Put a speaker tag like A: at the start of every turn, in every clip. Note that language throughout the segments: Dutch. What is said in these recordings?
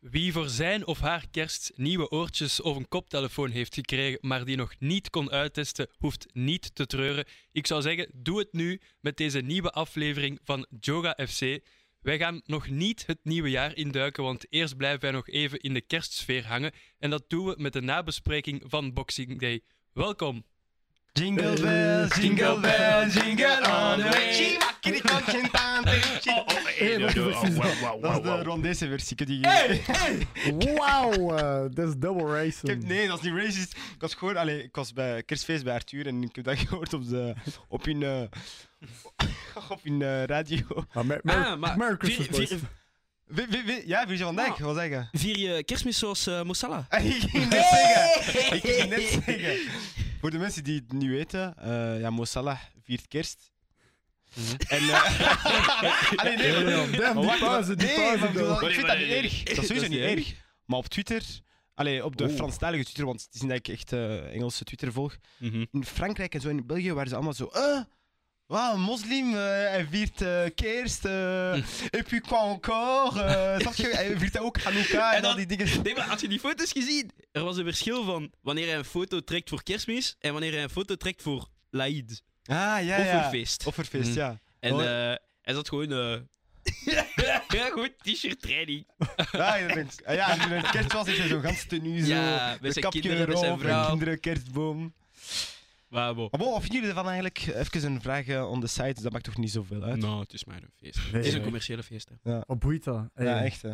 A: Wie voor zijn of haar kerst nieuwe oortjes of een koptelefoon heeft gekregen, maar die nog niet kon uittesten, hoeft niet te treuren. Ik zou zeggen, doe het nu met deze nieuwe aflevering van Joga FC. Wij gaan nog niet het nieuwe jaar induiken, want eerst blijven wij nog even in de kerstsfeer hangen. En dat doen we met de nabespreking van Boxing Day. Welkom.
B: Jingle bell, jingle bell, jingle all the way.
C: Hey, wacht even,
B: Oh,
C: precies.
B: wow, wow,
C: Dat is
B: wow,
C: de
B: wow.
C: Rwandese versie. Kun je
D: Wauw, eh, dat is double racing.
C: Ik heb, nee, dat is niet racist. Ik was gewoon, allee, ik was bij kerstfeest bij Arthur en ik heb dat gehoord op, de, op hun, eh, op hun eh, radio.
D: Maar Mer- Mer-
E: Ah, maar
D: Merry
E: vier-
D: Christmas, boys.
E: vier-
C: Wie, wie, wie, ja, wie is van Dijk? Wat zeggen?
E: Vier je kerstmis zoals eh Moussala?
C: Ik ging net zeggen. Ik ging net zeggen. Voor de mensen die het niet weten, eh ja, Mo Salah viert kerst. En, eh Allee, nee, maar- Oh,
D: Damn, damn, die
C: Wacht,
D: pauze, die
C: nee,
D: pauze
C: maar ik bedoel,
D: dan.
C: Ik vind dat niet erg. Dat is
E: Dat
C: sowieso
E: is
C: niet
E: niet erg.
C: erg. Maar op Twitter, allee, op de
E: Oeh.
C: Franstalige Twitter, want het is niet dat ik echt eh, Engelse Twitter volg. In Frankrijk en zo in België waren ze allemaal zo. eh Wauw, een moslim, eh, hij viert eh, kerst. eh et puis quoi encore? eh, snap je? Hij viert ook Hanukkah en,
E: En
C: al
E: dan-
C: die dingen.
E: Nee, maar had je die foto's gezien? Er was een verschil van wanneer hij een foto trekt voor kerstmis en wanneer hij een foto trekt voor Laïd.
C: Ah, ja, ja.
E: of voor feest.
C: Offerfeest,
A: Mhm.
C: ja.
E: En
C: Oh.
E: eh, hij zat gewoon... eh ja, gewoon t-shirt training.
C: Ja, inderdaad. Ah, ja, en met kerst was ik zo gans tenue, zo.
E: Ja, met
C: Een
E: zijn
C: kapje
E: kinderen, met zijn
C: erop, een
E: vrouw.
C: kinderen, kerstboom.
E: Maar bon.
C: Maar bon, wat vinden jullie ervan eigenlijk? Even een vraag eh, on the side, dat maakt toch niet zoveel uit?
E: Nou, het is maar een feest.
D: Nee,
E: Het is een
D: nee.
E: commerciële feest. Hè.
D: Wat boeit dat? Ey,
C: Ja, echt hè.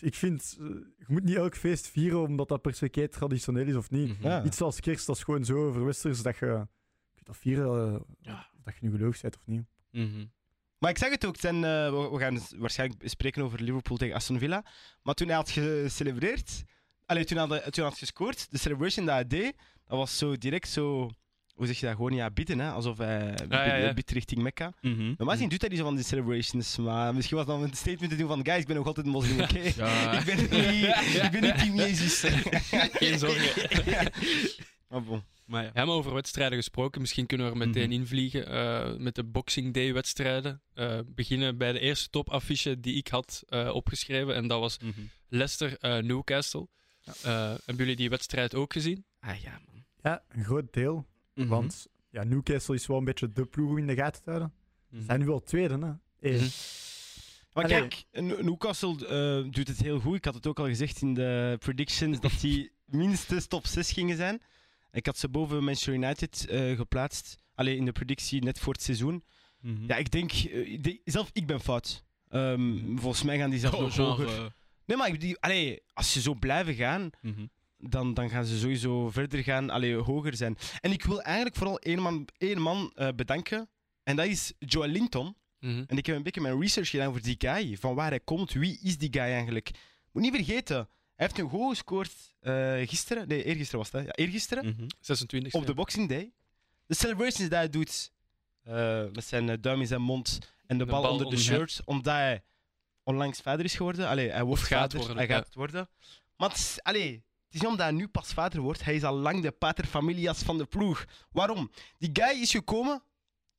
D: Ik vind, eh, je moet niet elk feest vieren omdat dat per se kei traditioneel is of niet.
C: Ja.
D: Iets als kerst, dat is gewoon zo verwesters dat je, je kunt dat vieren eh,
E: Ja.
D: of dat je nu geloof bent of niet.
E: Mhm.
C: Maar ik zeg het ook, het zijn, eh, we, we gaan s- waarschijnlijk spreken over Liverpool tegen Aston Villa. Maar toen hij had gecelebreerd, allee, toen hij had, toen hij had gescoord, de celebration dat hij deed, dat was zo direct zo, hoe zeg je dat, gewoon ja, bieden hè, alsof hij bid
A: ja, ja. Mm.
C: bidt richting Mekka.
E: Mhm.
C: Normaal gezien doet hij niet zo van die celebrations, maar misschien was dan een statement te doen van guys, ik ben nog altijd een moslim, oké?
E: Ja.
C: Ik ben niet, ik ben niet team Jezus.
A: Geen zorgen.
C: Maar bon.
E: Maar ja.
A: Helemaal over wedstrijden gesproken. Misschien kunnen we er meteen
E: Mhm.
A: invliegen eh, met de Boxing Day wedstrijden. Eh, beginnen bij de eerste topaffiche die ik had eh, opgeschreven. En dat was
E: Mhm.
A: Leicester eh, Newcastle. Eh, hebben jullie die wedstrijd ook gezien?
E: Ah ja, man.
D: Ja, een groot deel.
E: Mhm.
D: Want ja, Newcastle is wel een beetje de ploeg om in de gaten te houden.
A: Mhm.
D: Ze zijn nu wel tweede, hè? Eh, Ey,
A: Mhm.
C: Maar
D: Allee.
C: kijk, N- Newcastle eh, doet het heel goed. Ik had het ook al gezegd in de predictions dat die minstens top 6 gingen zijn. Ik had ze boven Manchester United eh, geplaatst. Alleen in de predictie net voor het seizoen.
E: Mhm.
A: Hm.
C: Ja, ik denk, eh, ik denk- zelf ik ben fout. Ehm, volgens mij gaan die
A: Oh,
C: zelf nog hoger.
E: eh,
C: Nee, maar ik, die, allee, als ze zo blijven gaan,
E: mhm.
C: dan, dan gaan ze sowieso verder gaan, allee, hoger zijn. En ik wil eigenlijk vooral één man, één man eh, bedanken. En dat is Joel Linton.
A: Mhm.
C: En ik heb een beetje mijn research gedaan over die guy. Van waar hij komt, wie is die guy eigenlijk? Moet niet vergeten, hij heeft een goal gescoord eh, gisteren. Nee, eergisteren was dat. Ja, eergisteren.
E: Mhm.
A: 26
C: Op de Boxing Day. De celebrations die hij doet eh, met zijn eh, duim in zijn mond en de,
A: De
C: bal,
A: bal
C: onder de
A: onder-
C: shirt, omdat hij onlangs vader is geworden. Allee, hij wordt
A: Of gaat
C: vader,
A: worden,
C: hij
A: ja.
C: gaat het worden. Maar het is, allee, het is niet omdat hij nu pas vader wordt, hij is al lang de paterfamilias van de ploeg. Waarom? Die guy is gekomen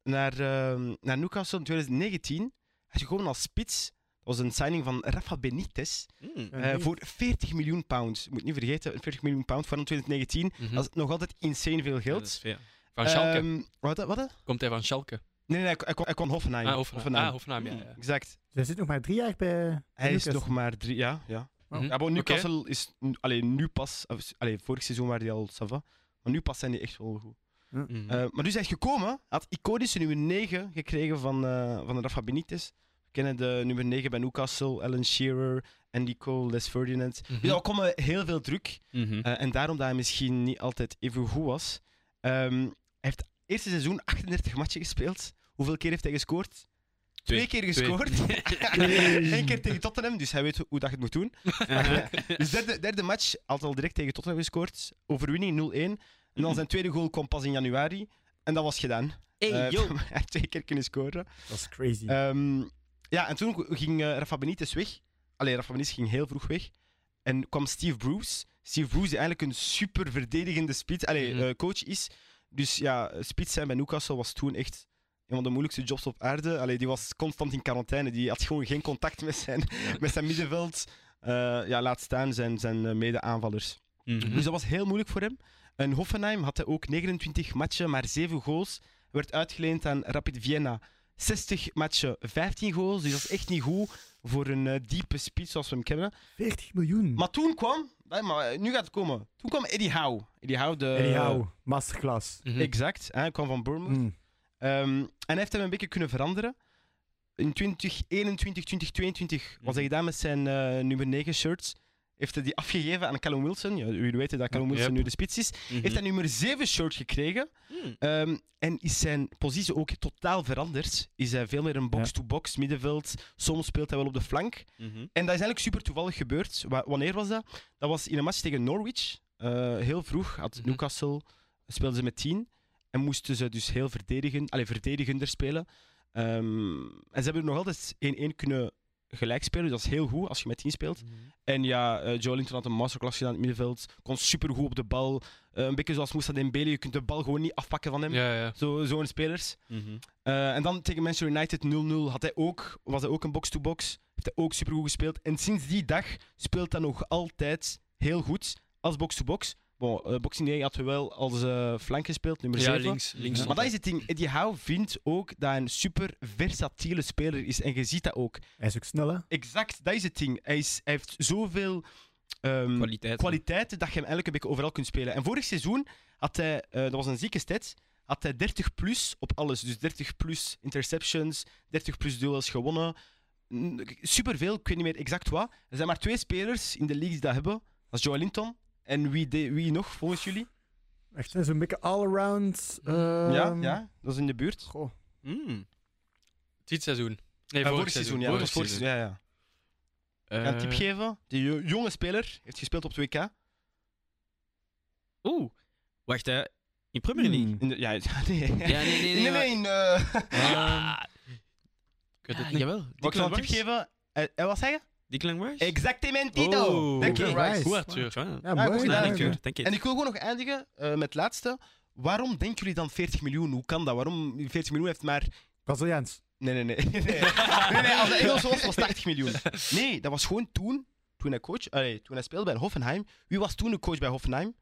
C: naar, ehm, naar Newcastle in 2019. Hij is gekomen als spits. Dat was een signing van Rafa Benitez.
A: hmm.
E: Mhm.
D: en
C: eh,
D: die-
C: voor 40 miljoen pound. Je moet niet vergeten, 40 miljoen pound van 2019.
A: Mhm.
C: Dat is nog altijd insane veel
E: Ja,
C: geld.
E: dat is veel.
A: Van Schalke.
C: Ehm, wat? Wat? Nee,
A: Komt hij van Schalke?
C: nee, hij, hij kwam, hij kwam Hoffenheim.
A: Ah, Hoffenheim.
C: Hoffenheim.
A: Ah, Hoffenheim, ja, ja.
C: Exact.
D: Zij zit nog maar drie jaar bij.
C: Hij is
D: Newcastle.
C: nog maar drie... Ja, ja.
A: Hm.
D: Oh.
C: ja maar Newcastle is... Alleen nu pas... of- Allee, vorig seizoen waren die al ça va. Maar nu pas zijn die echt wel goed.
A: Hm.
E: Mhm.
C: Eh, maar dus hij is gekomen. Hij had iconische nummer 9 gekregen van, eh van Rafa Benitez. We kennen de nummer 9 bij Newcastle. Alan Shearer, Andy Cole, Les Ferdinand.
A: Mhm.
C: Dus al kwam er heel veel druk.
E: Mhm.
C: Eh, en daarom dat hij misschien niet altijd even goed was. Ehm, hij heeft het eerste seizoen 38 matchen gespeeld. Hoeveel keer heeft hij gescoord?
A: Twee.
C: Twee, keer
A: Twee.
C: gescoord. Eén keer tegen Tottenham, dus hij weet hoe dat je het moet doen. dus derde, derde match had al direct tegen Tottenham gescoord. Overwinning 0-1. En dan zijn tweede goal kwam pas in januari. En dat was gedaan.
E: Hey,
C: Eh,
E: yo.
C: hij heeft twee keer kunnen scoren.
D: Dat is crazy.
C: Ehm, ja, en toen go- ging eh, Rafa Benitez weg. Allee, Rafa Benitez ging heel vroeg weg. En kwam Steve Bruce. Steve Bruce, die eigenlijk een super verdedigende spits, allee,
A: Mhm.
C: eh, coach is. Dus ja, eh, spits zijn bij Newcastle was toen echt een van de moeilijkste jobs op aarde. Allee, die was constant in quarantaine. Die had gewoon geen contact met zijn, met zijn middenveld. eh, ja, laat staan zijn, zijn eh, mede-aanvallers.
E: Mhm.
A: Mhm.
C: Dus dat was heel moeilijk voor hem. En Hoffenheim had hij ook 29 matchen, maar 7 goals. Werd uitgeleend aan Rapid Vienna. 60 matchen, 15 goals. Dus dat is echt niet goed voor een eh, diepe spits zoals we hem kennen.
D: 40 miljoen.
C: Maar toen kwam, nee, maar eh, nu gaat het komen. Toen kwam Eddie Howe. Eddie Howe, de. Mm.
D: Anyhow, masterclass.
C: dus-
A: Mhm.
C: Exact, hè, hij kwam van Bournemouth.
D: Mm.
C: Ehm, en hij heeft hem een beetje kunnen veranderen. In 2021, 2022 was hij gedaan met zijn eh, nummer 9 shirts. Heeft hij die afgegeven aan Callum Wilson. Ja, jullie weten dat Callum
A: Ja,
C: Wilson
A: yep.
C: nu de spits is.
E: Mhm.
C: Heeft hij nummer 7 shirt gekregen.
E: Hmm.
C: Ehm, en is zijn positie ook totaal veranderd. Is hij veel meer een box-to-box middenveld. Soms speelt hij wel op de flank. En dat is eigenlijk super toevallig gebeurd. Wa- wanneer was dat? Dat was in een match tegen Norwich. Eh, heel vroeg had
A: Mhm.
C: Newcastle speelden ze met 10 en moesten ze dus heel verdedigen, allee, verdedigender spelen. Ehm, en ze hebben nog altijd 1-1 kunnen gelijk spelen. Dus dat is heel goed als je met 10 speelt.
E: Mhm.
C: En ja, eh Joe Linton had een masterclass gedaan in het middenveld. Kon supergoed op de bal. Eh, een beetje zoals Moussa Dembele. Je kunt de bal gewoon niet afpakken van hem.
A: Ja, ja.
C: Zo- Zo'n spelers.
A: Mhm.
C: Eh, en dan tegen Manchester United 0-0 had hij ook, was hij ook een box-to-box. Heeft hij ook supergoed gespeeld. En sinds die dag speelt hij nog altijd heel goed als box-to-box. Bon, eh, Boxing Day had hij wel als eh, flank gespeeld, nummer
A: ja
C: 7.
A: links. links
C: Mhm. Maar dat is het ding. Eddie Howe vindt ook dat hij een super versatiele speler is. En je ziet dat ook.
D: Hij is ook snel, hè?
C: Exact, dat is het ding. Hij, is, hij heeft zoveel ehm,
E: Kwaliteit.
C: kwaliteiten dat je hem eigenlijk een beetje overal kunt spelen. En vorig seizoen had hij, eh, dat was een zieke stat, had hij 30 plus op alles. Dus 30 plus interceptions, 30 plus duels gewonnen. N- Superveel, ik weet niet meer exact wat. Er zijn maar twee spelers in de league die dat hebben. Dat is Joe Linton. En wie, de- wie nog, volgens jullie?
D: Echt hè, zo'n beetje all-around.
C: ja,
D: ehm,
C: ja, dat is in de buurt.
D: Goh.
E: Hmm.
A: Dit seizoen. Nee,
C: Eh,
A: vorig,
C: seizoen, ja. dat was Vorig seizoen, Eh. ja, ja. Ik
E: Eh,
C: ga een tip geven. Die jo- jonge speler heeft gespeeld op 2K.
E: Oeh. Wacht, hè. In Premier League?
D: Hmm.
C: In de, ja, nee.
E: Ja, nee, nee, nee.
C: Nee,
E: maar-
C: nee, in, eh,
E: Ja.
A: Ah. Ik weet het
E: Ja,
A: niet.
E: Ah, Jawel.
C: Mag ik
E: Declan
C: nog een tip
E: Rice?
C: geven? Eh, eh, wat zeggen?
E: Declan Rice?
C: Exactementito!
A: Oh.
C: Thank you,
D: Oké,
C: Rice.
D: nice.
A: Goed, Arthur.
E: Ja,
D: Ja,
C: goed gedaan,
D: mooi. mooi.
C: Arthur.
E: Dank je.
C: En ik wil gewoon nog eindigen eh, met het laatste. Waarom denken jullie dan 40 miljoen? Hoe kan dat? Waarom 40 miljoen heeft maar...
D: Braziliaans.
C: Nee, nee, nee. nee, nee, nee als hij Engels was, was 80 miljoen. Nee, dat was gewoon toen, toen hij, coach, allee, toen hij speelde bij Hoffenheim. Wie was toen de coach bij Hoffenheim?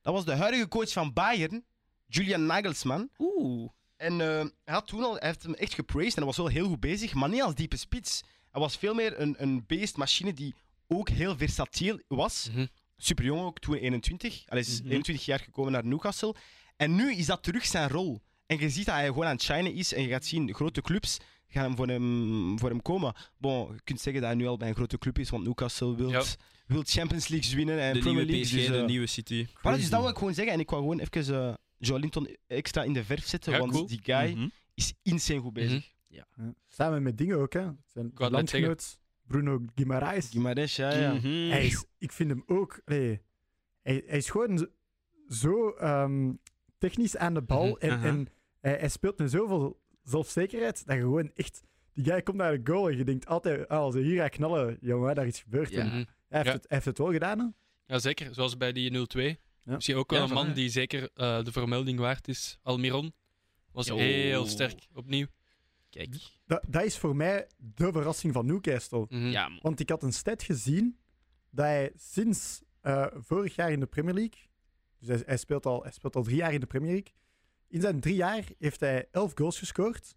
C: Dat was de huidige coach van Bayern, Julian Nagelsmann.
E: Oeh.
C: En eh, hij, had toen al, hij heeft hem echt gepraised en hij was wel heel goed bezig, maar niet als diepe spits. Hij was veel meer een, een beestmachine die ook heel versatiel was.
A: Mhm.
C: Super jong ook, toen 21. Hij is
E: Mhm.
C: 21 jaar gekomen naar Newcastle. En nu is dat terug zijn rol. En je ziet dat hij gewoon aan het shinen is. En je gaat zien, grote clubs gaan hem voor, hem voor hem komen. Bon, je kunt zeggen dat hij nu al bij een grote club is, want Newcastle wil
A: Ja.
C: wilt Champions League winnen en
E: De
C: Premier
E: nieuwe
C: League.
E: PSG,
C: dus,
E: de
C: eh,
E: nieuwe City.
C: voilà, dus dat wil ik gewoon zeggen. En ik wou gewoon even eh Joe Linton extra in de verf zetten,
A: Ja,
C: want
A: cool.
C: die guy
E: Mhm.
C: is insane goed bezig.
A: Mhm.
D: Ja. Samen met dingen ook, hè? Zijn
A: wou het net zeggen.
D: landgenoot Bruno Guimaraes.
C: Guimarães, ja, ja.
E: Mhm.
D: Hij is, ik vind hem ook. nee, hij, hij is gewoon zo- zo ehm, technisch aan de bal.
A: Mhm,
D: en,
E: aha.
D: en hij, hij speelt met zoveel zelfzekerheid dat je gewoon echt. Die guy komt naar de goal en je denkt altijd: ah, als hij hier gaat knallen, jongen, daar is gebeurd.
E: Ja.
D: En
A: Mhm.
D: Hij, heeft
A: Ja.
D: het, hij heeft het wel gedaan. hè.
A: Ja, zeker. Zoals bij die 0-2.
D: Ja.
A: Misschien ook wel
D: Ja,
A: een
D: van,
A: man
D: ja.
A: die zeker eh, de vermelding waard is. Almiron was
E: Yo.
A: heel sterk opnieuw.
E: Kijk.
D: Dat, dat is voor mij de verrassing van Newcastle.
A: Mhm.
E: Ja, man.
D: Want ik had een stat gezien dat hij sinds eh, vorig jaar in de Premier League, dus hij, hij speelt al, hij speelt al drie jaar in de Premier League, in zijn drie jaar heeft hij elf goals gescoord,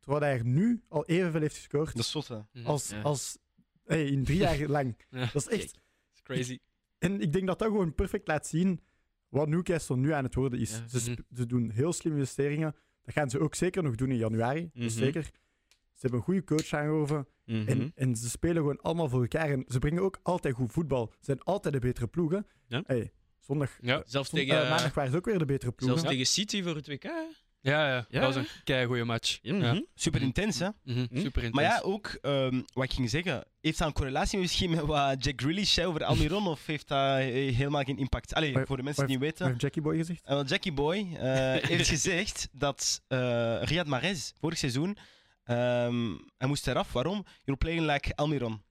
D: terwijl hij er nu al evenveel heeft gescoord
C: Dat is zot, hè.
D: als,
E: ja.
D: als hey, in drie jaar lang.
A: Ja.
D: Dat is echt...
A: It's Crazy.
D: En ik denk dat dat gewoon perfect laat zien wat Newcastle nu aan het worden is.
E: Ja.
D: Ze, sp-
A: Mhm.
D: ze doen heel slimme investeringen. Dat gaan ze ook zeker nog doen in januari. Dat is
E: Mhm.
D: zeker. Ze hebben een goede coach aangehoven.
E: Mhm.
D: En, en ze spelen gewoon allemaal voor elkaar. En ze brengen ook altijd goed voetbal. Ze zijn altijd de betere ploegen.
E: Ja.
D: Hey, zondag,
A: Ja,
E: Zelfs
D: zon-
E: tegen,
D: eh, maandag waren ze ook weer de betere ploegen.
E: zelfs tegen City voor het WK. hè?
A: ja, ja.
E: Ja.
A: dat was een keigoede match. Ja.
E: Mhm.
C: Super intens, hè.
A: Mhm. Super intens.
C: Maar ja, ook ehm, wat ik ging zeggen. Heeft dat een correlatie misschien met wat Jack Grealish zei over Almiron? of heeft dat eh, helemaal geen impact? Allee,
D: Maar-
C: voor de mensen die
D: maar-
C: het niet weten.
D: Maar heeft Jackie Boy gezegd?
C: Eh, wel, Jackie Boy eh, heeft gezegd dat eh, Riyad Mahrez vorig seizoen. ehm, hij moest eraf. Waarom? You're playing like Almiron.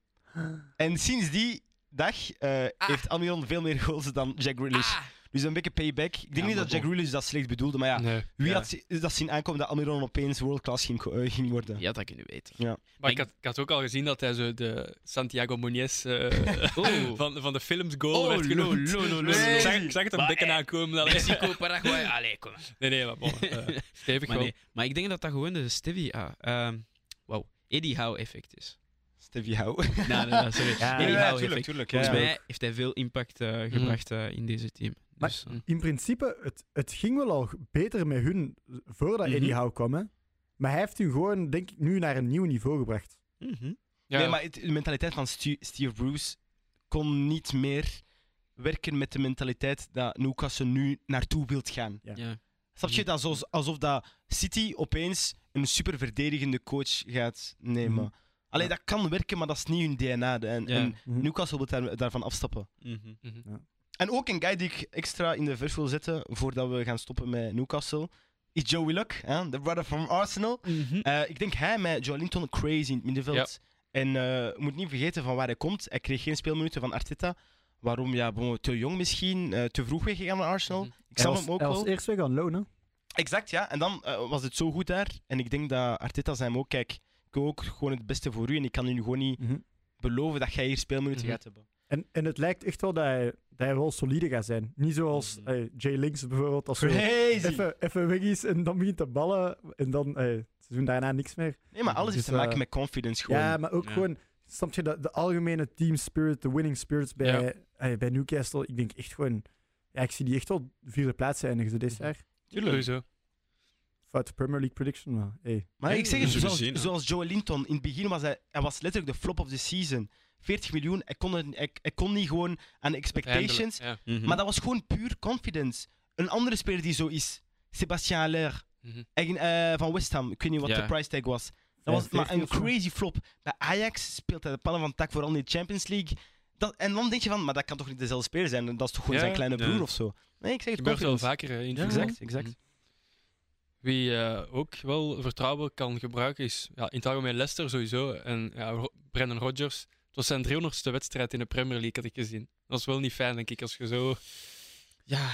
C: En sinds die dag eh, heeft Almiron veel meer goals dan Jack Grealish. Dus een beetje payback. Ik denk
E: Ja,
C: niet
E: maar
C: dat Jack
E: bon.
C: Grealish dat slecht bedoelde, maar ja.
A: Nee.
C: Wie
E: Ja.
C: had zi- dat zien aankomen dat Almiron opeens world-class ging, ko- eh, ging worden?
E: Ja, dat kun je weten.
A: Maar ik had, ik had ook al gezien dat hij zo de Santiago Muñez eh,
E: Oh,
A: van, van de films goal
E: oh
A: werd
E: no, no,
A: genoemd.
E: no, no, no.
A: Ik, zag, ik zag het hem
E: Maar,
A: dikke
E: eh,
A: aankomen. dat hij-
E: Mexico, Paraguay, allee, kom maar.
A: Nee, nee, maar bon, eh, stevig
E: Maar,
A: wel.
E: nee, maar ik denk dat dat gewoon de Stevie, ah, ehm wow, Eddie Howe effect is.
C: Stevie Howe.
E: nee, nee, nee, sorry.
D: Ja,
E: Eddie
D: ja,
E: Howe effect.
C: tuurlijk.
E: Volgens
C: ja.
E: mij heeft hij veel impact eh, gebracht eh, in deze team.
D: Maar-
E: Dus, eh,
D: In principe, het, het ging wel al beter met hun voordat
E: Mhm.
D: Eddie Howe kwam. Hè? Maar hij heeft hun gewoon, denk ik, nu naar een nieuw niveau gebracht.
E: mhm.
A: Ja.
C: Nee, maar het- de mentaliteit van Stu- Steve Bruce kon niet meer werken met de mentaliteit dat Newcastle nu naartoe wilt gaan.
D: Ja.
E: Ja.
C: Snap je? Dat alsof, alsof dat City opeens een super verdedigende coach gaat nemen.
D: Mhm.
C: Allee, dat kan werken, maar dat is niet hun DNA. En,
E: Ja.
C: en
D: Mhm.
C: Newcastle wil daar, daarvan afstappen.
E: Mhm.
C: En ook een guy die ik extra in de verf wil zetten voordat we gaan stoppen met Newcastle, is Joey Luck, hè? de brother from Arsenal.
A: Mhm.
C: Eh, ik denk hij met Joe Linton crazy in het middenveld. En eh, moet niet vergeten van waar hij komt. Hij kreeg geen speelminuten van Arteta. Waarom? Ja, bon, te jong misschien, eh, te vroeg weggegaan naar Arsenal.
A: Mhm.
C: Ik
D: Hij
C: snap
D: was,
C: hem ook
D: hij was
C: wel.
D: eerst weg aan lonen.
C: Exact, ja. En dan eh, was het zo goed daar. En ik denk dat Arteta zei hem ook, kijk, ik wil ook gewoon het beste voor u. En ik kan u nu gewoon niet beloven dat jij hier speelminuten
A: Mhm.
C: gaat hebben.
D: Mhm. En, en het lijkt echt wel dat hij, dat hij wel solide gaat zijn. Niet zoals
E: Mhm.
D: eh, Jay Links bijvoorbeeld, als hij
C: Crazy!
D: even, even weg is en dan begint te ballen en dan eh, het seizoen daarna niks meer.
C: Nee, maar alles
D: Dus,
C: heeft te maken
D: eh,
C: met confidence gewoon.
D: Ja, maar ook
E: Ja.
D: gewoon, snap je, de, de algemene team spirit, de winning spirits bij,
A: Ja.
D: eh, bij Newcastle. Ik denk echt gewoon, ja, ik zie die echt wel vierde plaats eindigen zo dit jaar.
A: Sowieso.
D: Foute Premier League prediction, maar hey.
C: Maar
E: Ja,
C: ik zeg
E: dat
C: het,
E: is
C: zoals,
E: gezien, hè.
C: zoals Joe Linton. In het begin was hij, hij was letterlijk de flop of the season. 40 miljoen, hij kon, het- hij, hij kon niet gewoon aan de expectations.
A: Ja.
E: Mhm.
C: Maar dat was gewoon puur confidence. Een andere speler die zo is, Sébastien Haller
A: Mhm.
C: eigen- eh, van West Ham. Ik weet niet wat
E: Ja.
C: de price tag was. Dat was maar een crazy flop. Bij Ajax speelt hij de pannen van tak, vooral in de Champions League. Dat, en dan denk je van, maar dat kan toch niet dezelfde speler zijn? Dat is toch gewoon
A: Ja,
C: zijn kleine
E: ja.
C: broer of zo? Nee, ik zeg het
A: gebeurt wel
C: confidence.
A: vaker hè, in voetbal.
C: Exact, exact.
A: Mhm. Wie eh, ook wel vertrouwen kan gebruiken is ja, in het algemeen Leicester sowieso. En ja, Ro- Brendan Rodgers. Het was zijn 300ste wedstrijd in de Premier League, had ik gezien. Dat is wel niet fijn, denk ik, als je zo...
E: Ja,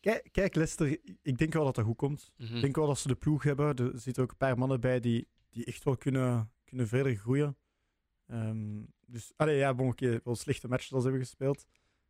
D: Kijk, kijk, Leicester, ik denk wel dat dat goed komt.
A: Mhm.
D: Ik denk wel dat ze de ploeg hebben. Er zitten ook een paar mannen bij die, die echt wel kunnen, kunnen verder groeien. Ehm, dus, allee, ja, bon, oké, wel slechte matches als ze hebben gespeeld.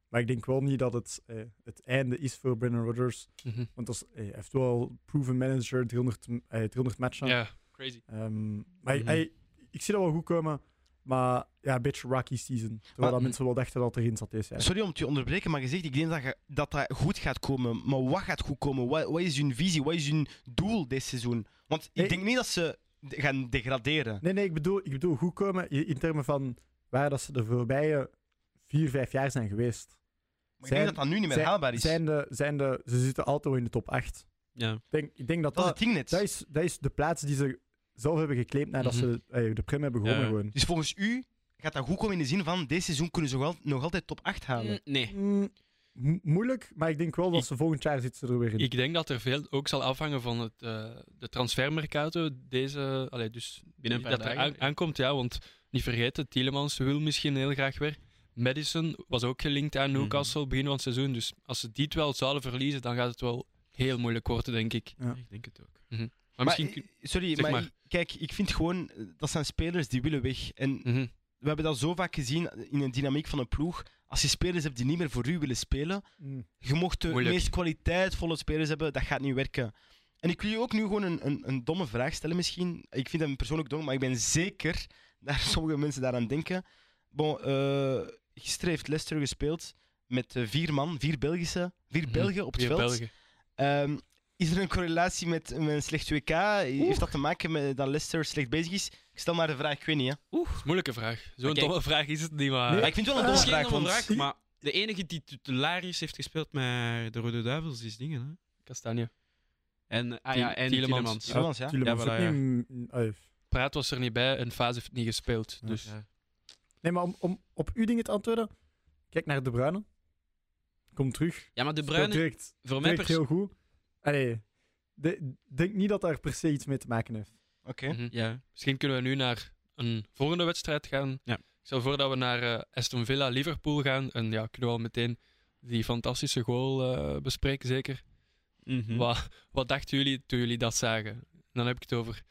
D: Maar ik denk wel niet dat het eh, het einde is voor Brendan Rodgers.
A: Mhm.
D: Want dat is, eh, hij heeft wel proven manager, 300, m- eh, 300 matchen.
A: Ja, crazy.
D: Ehm, maar hij-
E: Mhm.
D: hij- ik zie dat wel goed komen. Maar ja, een beetje rocky season. Terwijl
C: Maar-
D: dat mensen wel dachten dat het erin zat deze jaar.
C: Sorry om het te onderbreken, maar je zegt, ik denk dat, je- dat dat goed gaat komen. Maar wat gaat goed komen? Wat, wat is hun visie? Wat is hun doel dit seizoen? Want ik
D: Nee.
C: denk niet dat ze de- gaan degraderen.
D: Nee, nee, ik bedoel, ik bedoel goed komen i- in termen van waar dat ze de voorbije vier, vijf jaar zijn geweest.
C: Maar ik
D: Zijn-
C: denk dat dat nu niet meer
D: zijn-
C: haalbaar is.
D: Zijn de, zijn de, ze zitten altijd wel in de top 8.
E: ja.
D: Ik denk, ik denk dat
C: dat is
D: dat,
C: het ding net.
D: dat, is, dat is de plaats die ze zelf hebben geclaimd nadat
A: Mhm.
D: ze eh, de prim hebben gewonnen.
E: Ja.
D: Gewoon.
C: Dus volgens u gaat dat goed komen in de zin van, dit seizoen kunnen ze wel- nog altijd top 8 halen.
E: Mm, Nee.
D: Mm, mo- moeilijk, maar ik denk wel dat
A: Ik-
D: ze volgend jaar zitten ze er weer in.
A: Ik denk dat er veel ook zal afhangen van het, eh, de transfermercato. Deze, allee, dus
E: Binnen een paar
A: dat er
E: dagen.
A: aan- aankomt, ja. Want niet vergeten, Tielemans wil misschien heel graag weer. Madison was ook gelinkt aan Newcastle begin van het seizoen. Dus als ze die het wel zouden verliezen, dan gaat het wel heel moeilijk worden, denk ik.
D: Ja.
E: Ik denk het ook.
A: Maar
C: Maar,
A: misschien... kun-
C: eh, sorry,
A: zeg
C: maar,
A: maar.
C: ik- kijk, ik vind gewoon, eh, dat zijn spelers die willen weg. En
A: Mhm.
C: we hebben dat zo vaak gezien in een dynamiek van een ploeg. Als je spelers hebt die niet meer voor u willen spelen,
D: Mm.
C: Je mocht de
A: Moeilijk.
C: meest kwaliteitvolle spelers hebben, dat gaat niet werken. En ik wil je ook nu gewoon een, een, een domme vraag stellen misschien. Ik vind hem persoonlijk dom, maar ik ben zeker dat sommige mensen daaraan denken. Bon, eh, gisteren heeft Leicester gespeeld met eh, vier man, vier Belgische, vier
A: Mhm.
C: Belgen op het
A: Weer
C: veld.
A: België.
C: Ehm, is er een correlatie met, met een slecht WK? Heeft dat te maken met dat Leicester slecht bezig is? Ik stel maar de vraag, ik weet niet. Hè.
A: Moeilijke vraag. Zo'n
E: Oké.
A: domme vraag is het niet, maar...
D: Nee.
C: Maar ik vind het wel een
E: Dat
C: Ah, domme
E: is geen
C: vraag,
E: domme
C: want-
E: vraag, maar de enige die titularis heeft gespeeld met de Rode Duivels is dingen, hè.
A: Kastanje.
E: En, ah
A: Tiel-
E: ja, en
A: Tielemans.
E: Tielemans.
C: Ja, Tielemans, ja.
D: Tielemans
E: Ja, voilà,
D: ook
E: ja.
D: niet, mm, eh,
A: Praat was er niet bij en Fase heeft niet gespeeld.
D: Ja.
A: Dus
E: Ja.
D: Nee, maar om, om op uw dingen te antwoorden, kijk naar De Bruyne. Kom terug.
E: Ja, maar De
D: Speelt
E: Bruyne,
D: direct,
E: voor mij
D: direct
E: persoonlijk...
D: heel goed. Allee, de, denk niet dat daar per se iets mee te maken heeft.
C: Oké.
A: Mhm.
E: Ja.
A: misschien kunnen we nu naar een volgende wedstrijd gaan.
E: Ja.
A: Ik stel voor dat we naar eh, Aston Villa Liverpool gaan. En ja, kunnen we al meteen die fantastische goal eh, bespreken, zeker.
E: Mhm.
A: Wat, wat dachten jullie toen jullie dat zagen? Dan heb ik het over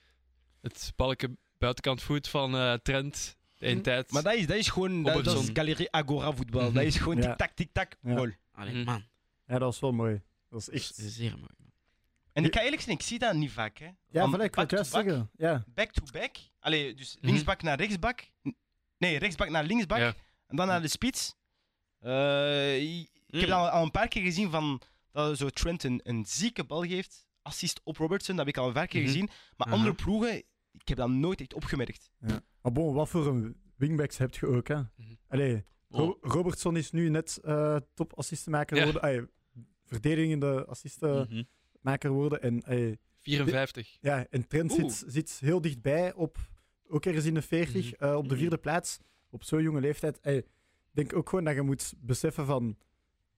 A: het balken buitenkant voet van eh, Trent
E: Mhm.
A: in
C: Hm,
A: tijd.
C: Maar dat is, dat is gewoon dat, dat is
A: Robertson.
C: Galerie Agora voetbal. Dat is gewoon
D: Ja.
C: tik-tak, tik-tak,
D: Ja.
C: goal.
E: Allee,
A: Mhm.
E: man.
D: Ja, dat was wel mooi. Dat was
E: Echt.
D: echt...
E: Zeer mooi.
C: En ik kan eerlijk zeggen, ik zie dat niet vaak. Hè.
D: Ja,
C: Van
D: voilà, ik wou het
C: back
D: juist
C: to back.
D: zeggen. Mhm. Ja.
C: back to back. Allee, dus linksbak naar rechtsbak. Nee, rechtsbak naar linksbak.
A: Ja.
C: En dan naar de spits. Eh, ik
E: Mm.
C: heb
D: Mhm.
C: dat al, al een paar keer gezien van dat zo Trent een, een zieke bal geeft. Assist op Robertson, dat heb ik al een paar keer
A: Mhm.
C: gezien. Maar
E: Aha.
C: andere ploegen, ik heb dat nooit echt opgemerkt.
D: Maar bon, wat voor een wingbacks heb je ook, hè? Allee, Ro-
E: Mhm. Oh.
D: Robertson is nu net eh topassistenmaker
A: Ja.
D: geworden. Ay, verdedigende assistenmaker
E: Mhm.
D: worden. En, ay,
A: 54.
D: ja, en Trent
E: Oeh.
D: zit, zit heel dichtbij, op, ook ergens in de 40,
A: Mhm.
D: eh, op de
E: Mhm.
D: vierde plaats. Op zo'n jonge leeftijd. Ay, Ik denk ook gewoon dat je moet beseffen van...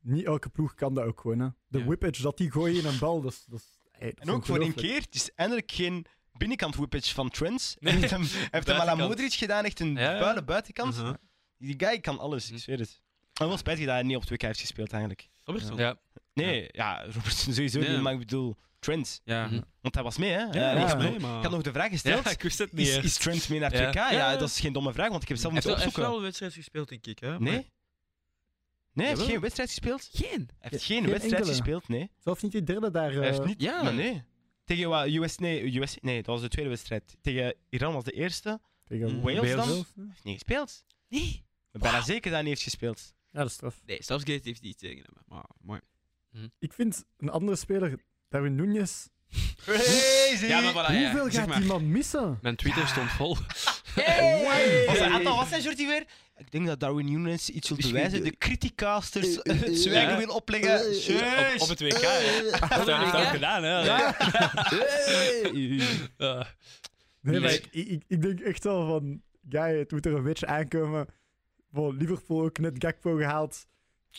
D: Niet elke ploeg kan dat ook gewoon, hè. De
A: Ja.
D: whippage dat die gooien in een bal, dat is... dat is- ay, dat is
C: En ook voor één
D: ongelooflijk.
C: keer, het is eindelijk geen binnenkant whippage van Trent.
A: Nee,
C: Hij heeft hem, hij heeft hem à la
A: buitenkant.
C: Modric gedaan, echt een
A: Ja.
C: vuile buitenkant.
D: Mhm.
E: Aha.
C: Die guy kan alles,
A: Mhm.
C: ik zweer het. En wel spijtig dat hij niet op 2K heeft gespeeld eigenlijk.
E: Robertson.
A: Ja.
C: Nee, ja, Robertson sowieso
E: Nee.
C: niet, maar ik bedoel Trent.
E: Ja.
A: Mhm.
C: Want hij was mee, hè?
D: Ja,
C: Eh,
D: hij
C: ik
D: was
C: had
D: mee,
C: nog-
E: maar...
C: Ik had nog de vraag gesteld.
A: Ja, ik wist het niet.
C: is,
A: hè.
C: is Trent mee naar
A: Ja.
C: 2K? Ja,
E: Ja.
C: dat is geen domme vraag, want ik heb zelf
A: Hij
C: moeten
A: heeft
E: Hij
C: opzoeken.
E: heeft wel een wedstrijd gespeeld, denk ik. Hè?
C: Nee? Nee, hij heeft
E: Jawel.
C: geen wedstrijd gespeeld.
E: Geen.
C: Hij heeft
D: Geen
C: geen wedstrijd
D: enkele.
C: gespeeld, nee.
D: Zelfs niet die derde daar...
C: Hij heeft
D: eh,
C: niet...
E: ja.
C: Maar nee. Tegen wat? US... Nee, US... nee, dat was de tweede wedstrijd. Tegen Iran was de eerste. Hij
D: tegen
C: Wales dan?
D: hè.
C: heeft niet gespeeld.
E: Nee.
C: Ik ben bijna zeker dat hij niet heeft gespeeld.
D: Ja, dat is straf.
E: Nee, Southgate heeft niet tegen hem. Maar mooi.
D: Ik vind een andere speler, Darwin Nunez.
C: Crazy!
E: Ja, maar voilà, Ah, ja,
D: Hoeveel
E: zeg
D: gaat
E: maar.
D: die man missen?
A: Mijn Twitter
C: Ja.
A: stond vol.
C: Was hij, Anton, was zijn shorty weer? Ik denk dat Darwin Nunes iets wil
E: Misschien-
C: bewijzen. De criticasters
D: Eh, eh,
C: het zwijgen
A: ja.
C: wil opleggen. Jeez.
A: Op, op het WK.
E: Eh,
A: hè. Dat heeft hij ook gedaan, hè?
C: eh,
A: Eh,
D: Nee, maar
A: Nee.
D: ik, ik, ik denk echt wel van... Guy, het moet er een beetje aankomen. Voor Liverpool ook net Gakpo gehaald.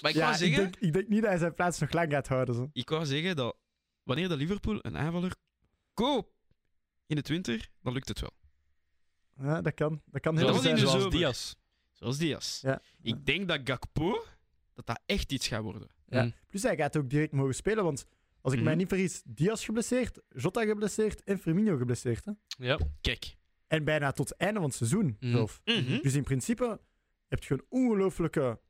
E: Maar ik
D: ja,
E: wou zeggen...
D: ik, denk, ik denk niet dat hij zijn plaats nog lang gaat houden. Zo.
E: Ik wou zeggen dat wanneer de Liverpool een aanvaller koopt in het winter, dan lukt het wel.
D: Ja, dat kan. Dat kan
E: Dat
D: heel
E: was
D: zijn.
E: in de
D: zoals-
A: zoals
E: zomer.
A: Diaz.
E: Zoals Diaz.
D: Ja.
E: Ik denk dat Gakpo, dat dat echt iets gaat worden.
D: Ja.
A: Mm.
D: Plus hij gaat ook direct mogen spelen, want... Als ik
E: Mhm.
D: mij niet vergis, Diaz geblesseerd, Jota geblesseerd en Firmino geblesseerd. Hè?
A: Ja.
E: Kijk.
D: En bijna tot het einde van het seizoen
A: Mhm.
D: zelf.
E: Mhm.
D: Dus in principe heb je een ongelooflijke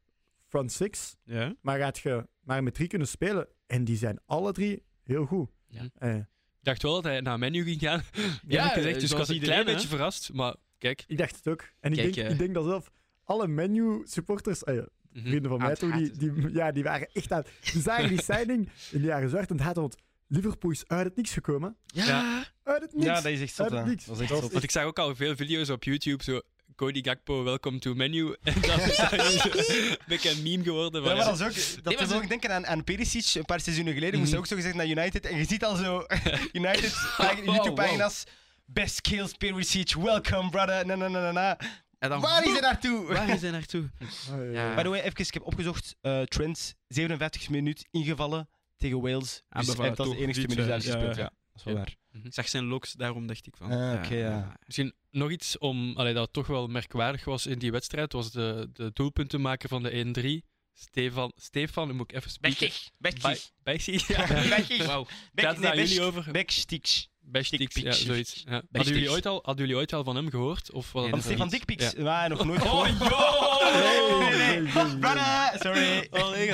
D: front six,
E: Ja.
D: maar gaat je maar met drie kunnen spelen. En die zijn alle drie heel goed.
E: Ja.
D: Eh,
A: Ik dacht wel dat hij naar menu ging gaan.
E: Ja,
A: Ja, gezegd, dus ik
E: zoals
A: was een klein
E: iedereen, hè.
A: beetje verrast. Maar kijk.
D: ik dacht het ook. En ik,
E: Kijk,
D: denk,
E: eh.
D: ik denk dat zelf alle menu-supporters, eh, ja,
A: mhm.
D: vrienden van
E: Aan
D: mij
E: het
D: toen, die,
E: haten.
D: die, ja, die waren echt aan Die zagen die signing in de jaren zwart en het haten, want Liverpool is uit het niks gekomen.
E: Ja.
D: Uit het niks.
C: Ja, dat is echt zot,
D: Uit het
C: hè.
D: niks.
C: Dat is echt
D: Dat
C: zot.
A: Want ik zag ook al veel video's op YouTube. Zo, Cody Gakpo, welcome to menu. En dan is dat een beetje een meme geworden.
C: Ja,
A: Van,
C: maar
A: ja,
C: dat is ook, dat
E: maar
C: is
E: ze-
C: ook denken aan, aan Perisic. Een paar seizoenen geleden moest hij
A: Mhm.
C: ook zo gezegd naar United. En je ziet al zo United pag- YouTube-pagina's. Best kills Perisic, welcome brother. Na, na, na, na, na.
E: En dan,
C: Waar is hij naartoe?
E: Waar is hij naartoe?
D: Ah, ja.
E: Ja.
C: By the way, even, ik heb opgezocht. eh, Trent, 57 minuut ingevallen tegen Wales.
E: Ah,
C: Dus,
E: maar voilà,
C: en dat is
E: toch,
C: de enige
E: dit,
C: minuut
E: eh,
C: dat hij
E: ja,
C: speelt.
E: ja.
C: Ja, dat is wel
E: Ja.
C: waar.
E: Ik Mhm. zag zijn locks, daarom dacht ik van.
C: Ah, oké, ja.
A: Misschien nog iets om, allee, dat toch wel merkwaardig was in die wedstrijd. Was de, de doelpuntenmaker van de 1-3. Stefan, Stefan, dan moet ik even spreken.
C: Bektig.
A: Bijsie. Ja.
C: Bektig.
E: Wauw.
A: Gaat het naar jullie over?
C: Bekstiks.
A: Bijstiks, ja,
C: Dikpiks.
A: zoiets. Ja. Hadden, jullie
E: Dikpiks.
A: ooit al, hadden jullie ooit al van hem gehoord? Of wat
E: Nee,
C: Van
E: dat
C: Stefan
E: niet.
C: Dikpiks. Maar nog nooit gehoord.
A: yo!
C: Nee, nee, nee. Brother, sorry.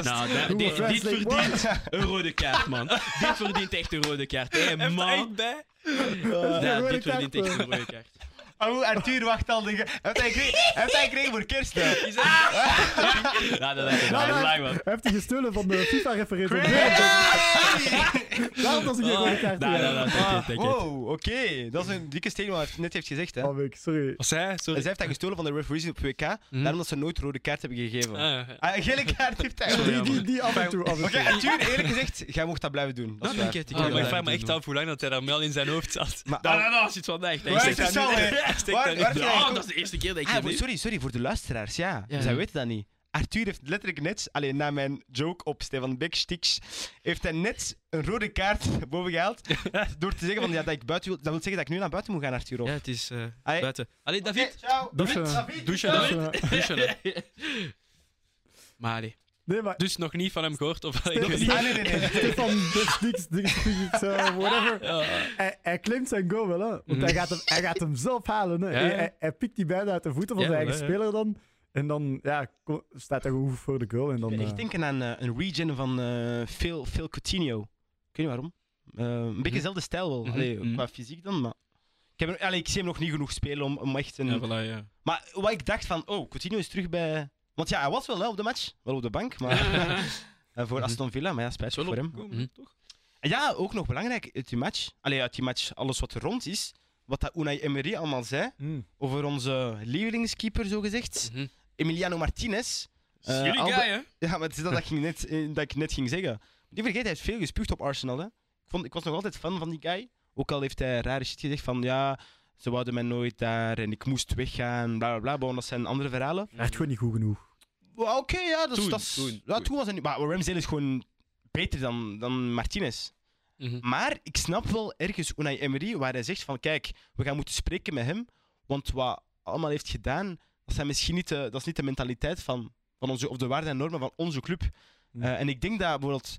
E: Nou, da-
D: Hoe
E: dit,
D: was
E: dit
D: Wesley
E: verdient een rode kaart, man. dit verdient echt een rode kaart. Hé, man.
A: bij.
D: Ja,
E: Ja,
D: rode
E: dit verdient
D: kaart, eh.
E: echt een
D: man.
E: rode kaart.
C: Oh, Arthur wacht al. Hij heeft hij gekregen- hij heeft hij gekregen voor kerst. hè.
E: Nou, dat lijkt me
D: Nou,
E: wel.
D: nou,
E: Lang, man.
D: Hij heeft die gestolen van de FIFA-referent. Daarom was Oh, ik een rode kaart.
E: Nou, nou, nou,
A: Ah,
E: dank je, dank je.
C: Wow, oké. Dat is een dikke statement wat hij net heeft gezegd. Hè.
D: Oh, Mick, sorry.
A: Was hij? Sorry.
C: Zij heeft dat gestolen van de referees op WK,
A: Mhm.
C: daarom dat ze nooit rode kaart hebben gegeven. Ah.
A: Ah, ja.
C: een gele kaart heeft hij.
D: Die, die, die af en toe. Af en toe.
C: Oké, Arthur, eerlijk gezegd, jij mocht dat blijven doen. Dat
E: Nou,
C: is
E: dank
C: waar.
E: je, dank je.
A: Ah, maar ik
E: Dank
A: vraag me
E: je,
A: echt
E: man.
A: af hoe lang dat hij dat wel in zijn hoofd zat.
C: Maar,
E: Nou,
C: ah,
E: nou, nou, zit van echt.
C: Waar
E: Ik
C: is
E: zeg
C: het
E: dat
C: zo,
E: niet.
C: hè?
E: Ik zeg
C: Waar-
E: dat niet.
C: waar heb jij
E: Ah,
C: gekocht?
E: Dat is de eerste keer dat ik
C: ah,
E: dat
C: voor-
E: doe.
C: sorry, sorry voor de luisteraars, ja.
E: Ja.
C: Zij weten dat niet. Arthur heeft letterlijk net, alleen na mijn joke op Stefan Bekstiks, heeft hij net een rode kaart boven gehaald door te zeggen van, ja, dat ik buiten wil. Dat wil zeggen dat ik nu naar buiten moet gaan, Arthur.
E: Ja,
C: Ja.
E: het is eh,
C: Allee.
E: buiten. Allee, David.
C: ciao.
D: Douchen.
C: David, David,
A: Douchen,
D: Dat
A: David.
D: is, eh,
A: Douchen, hè.
E: Maar allee.
D: Nee, maar
A: Dus nog niet van hem gehoord? Of ik
D: Stefan-
A: weet niet.
C: Ah, nee, nee, nee.
D: Stefan doet niks, niks, niks, eh, whatever.
A: Ja.
D: Hij, hij klimt zijn goal wel, hè. Want
A: Mhm.
D: hij, gaat hem, hij gaat hem zelf halen, hè.
A: Ja,
D: Hij,
A: ja.
D: hij- hij pikt die bijna uit de voeten van
A: Ja,
D: zijn
A: wel,
D: eigen
A: hè, ja.
D: speler dan. En dan ja, ko- staat hij gewoon voor de goal. En dan,
C: Ik ben
D: eh,
C: echt denken aan eh, een regen van eh, Phil, Phil Coutinho. Ik weet niet waarom. Eh, een beetje
A: Mhm.
C: dezelfde stijl wel.
A: Mhm,
C: Allee,
A: mhm.
C: Qua fysiek dan, maar... Ik, heb, er- allee, ik zie hem nog niet genoeg spelen om, om echt een...
E: Ja, voilà, ja.
C: Maar wat ik dacht van, oh, Coutinho is terug bij... Want ja, hij was wel hè, op de match. Wel op de bank, maar... eh, voor Aston Villa, maar ja,
E: Dat is
C: spijtig
E: wel
C: voor hem.
E: opgekomen,
A: Mhm.
E: toch?
C: En Ja, ook nog belangrijk uit die match. Allee, uit die match, alles wat er rond is. Wat dat Unai Emery allemaal zei
D: mm.
C: over onze lievelingskeeper, zogezegd.
A: Mhm.
C: Emiliano Martinez.
E: Dat is
C: Eh,
E: jullie
C: Albe-
E: guy, hè?
C: Ja, maar het is dat, dat, ik net, eh, dat ik net ging zeggen. Die vergeet, hij heeft veel gespuugd op Arsenal. Hè. Ik, vond, ik was nog altijd fan van die guy. Ook al heeft hij rare shit gezegd van ja, ze wouden mij nooit daar en ik moest weggaan, bla bla bla. Bon, dat zijn andere verhalen.
D: Hij is gewoon niet goed genoeg.
C: Wel, Oké, ja, dat is.
E: Toen,
C: dat is-
E: toen,
C: ja,
E: toen.
C: toen was hij niet. Maar Ramsdale is gewoon beter dan, dan Martinez.
A: Mhm.
C: Maar ik snap wel ergens Unai Emery, waar hij zegt van kijk, we gaan moeten spreken met hem. Want wat allemaal heeft gedaan, dat, zijn misschien niet de, dat is niet de mentaliteit van, van onze, of de waarden en normen van onze club.
D: Mm.
C: Eh, en ik denk dat bijvoorbeeld,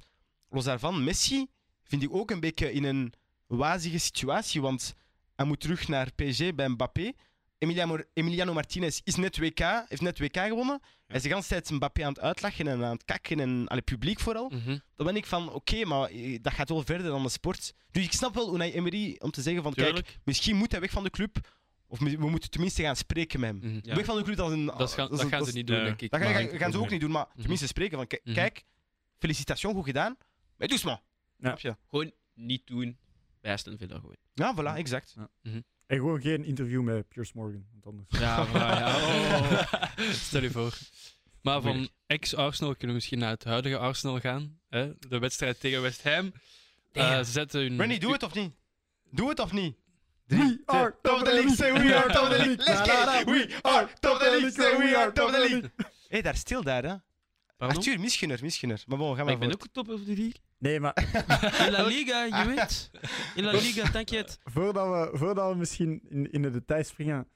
C: los daarvan, Messi vind ik ook een beetje in een wazige situatie. Want hij moet terug naar PSG bij Mbappé. Emiliano, Emiliano Martinez is net WK, heeft net WK gewonnen. Hij is de hele tijd Mbappé aan het uitlachen en aan het kakken en aan het publiek vooral
A: Mhm.
C: dan ben ik van, oké, maar eh, dat gaat wel verder dan de sport. Dus ik snap wel Unai Emery om te zeggen van, kijk,
E: Tuurlijk.
C: misschien moet hij weg van de club. Of mi- we moeten tenminste gaan spreken met hem.
A: Mhm.
E: Ja.
C: Weg van de club, dat is een...
A: Dat, gaan, dat
C: is een-
A: gaan
C: dat
A: ze
C: is-
A: niet doen,
E: ja.
A: denk ik.
C: Dat gaan,
A: maar-
C: gaan- gaan ze ook niet doen, maar tenminste spreken van, kijk,
A: Mhm.
C: kijk felicitatie, goed gedaan. Maar doe eens maar.
D: Ja.
C: Snap je?
E: Gewoon niet doen. Bij Aston Villa gewoon.
C: Ja, voilà, exact.
D: En gewoon geen interview met Piers Morgan. Want anders...
E: Ja, voilà, ja. Oh.
A: Stel je voor. Ah, Maar van ex-Arsenal kunnen we misschien naar het huidige Arsenal gaan. Hè? De wedstrijd tegen West Ham. Eh, ze zetten hun...
C: Randy, doe het of niet? Doe het of niet?
D: We are
C: Top of the league, say we are top of the league. Let's
D: La, la,
C: get it.
D: la.
C: We are top of the league, say we are top of the league. Hé, daar stil daar, hè.
E: Pardon?
C: Arthur, misgunner, misgunner. Maar bon, gaan
E: Maar
C: we
E: ik ben ook top of the league.
D: Nee, maar
E: In La Liga, je weet. In La Liga, denk je het.
D: voordat we, voordat we misschien in, in de details springen.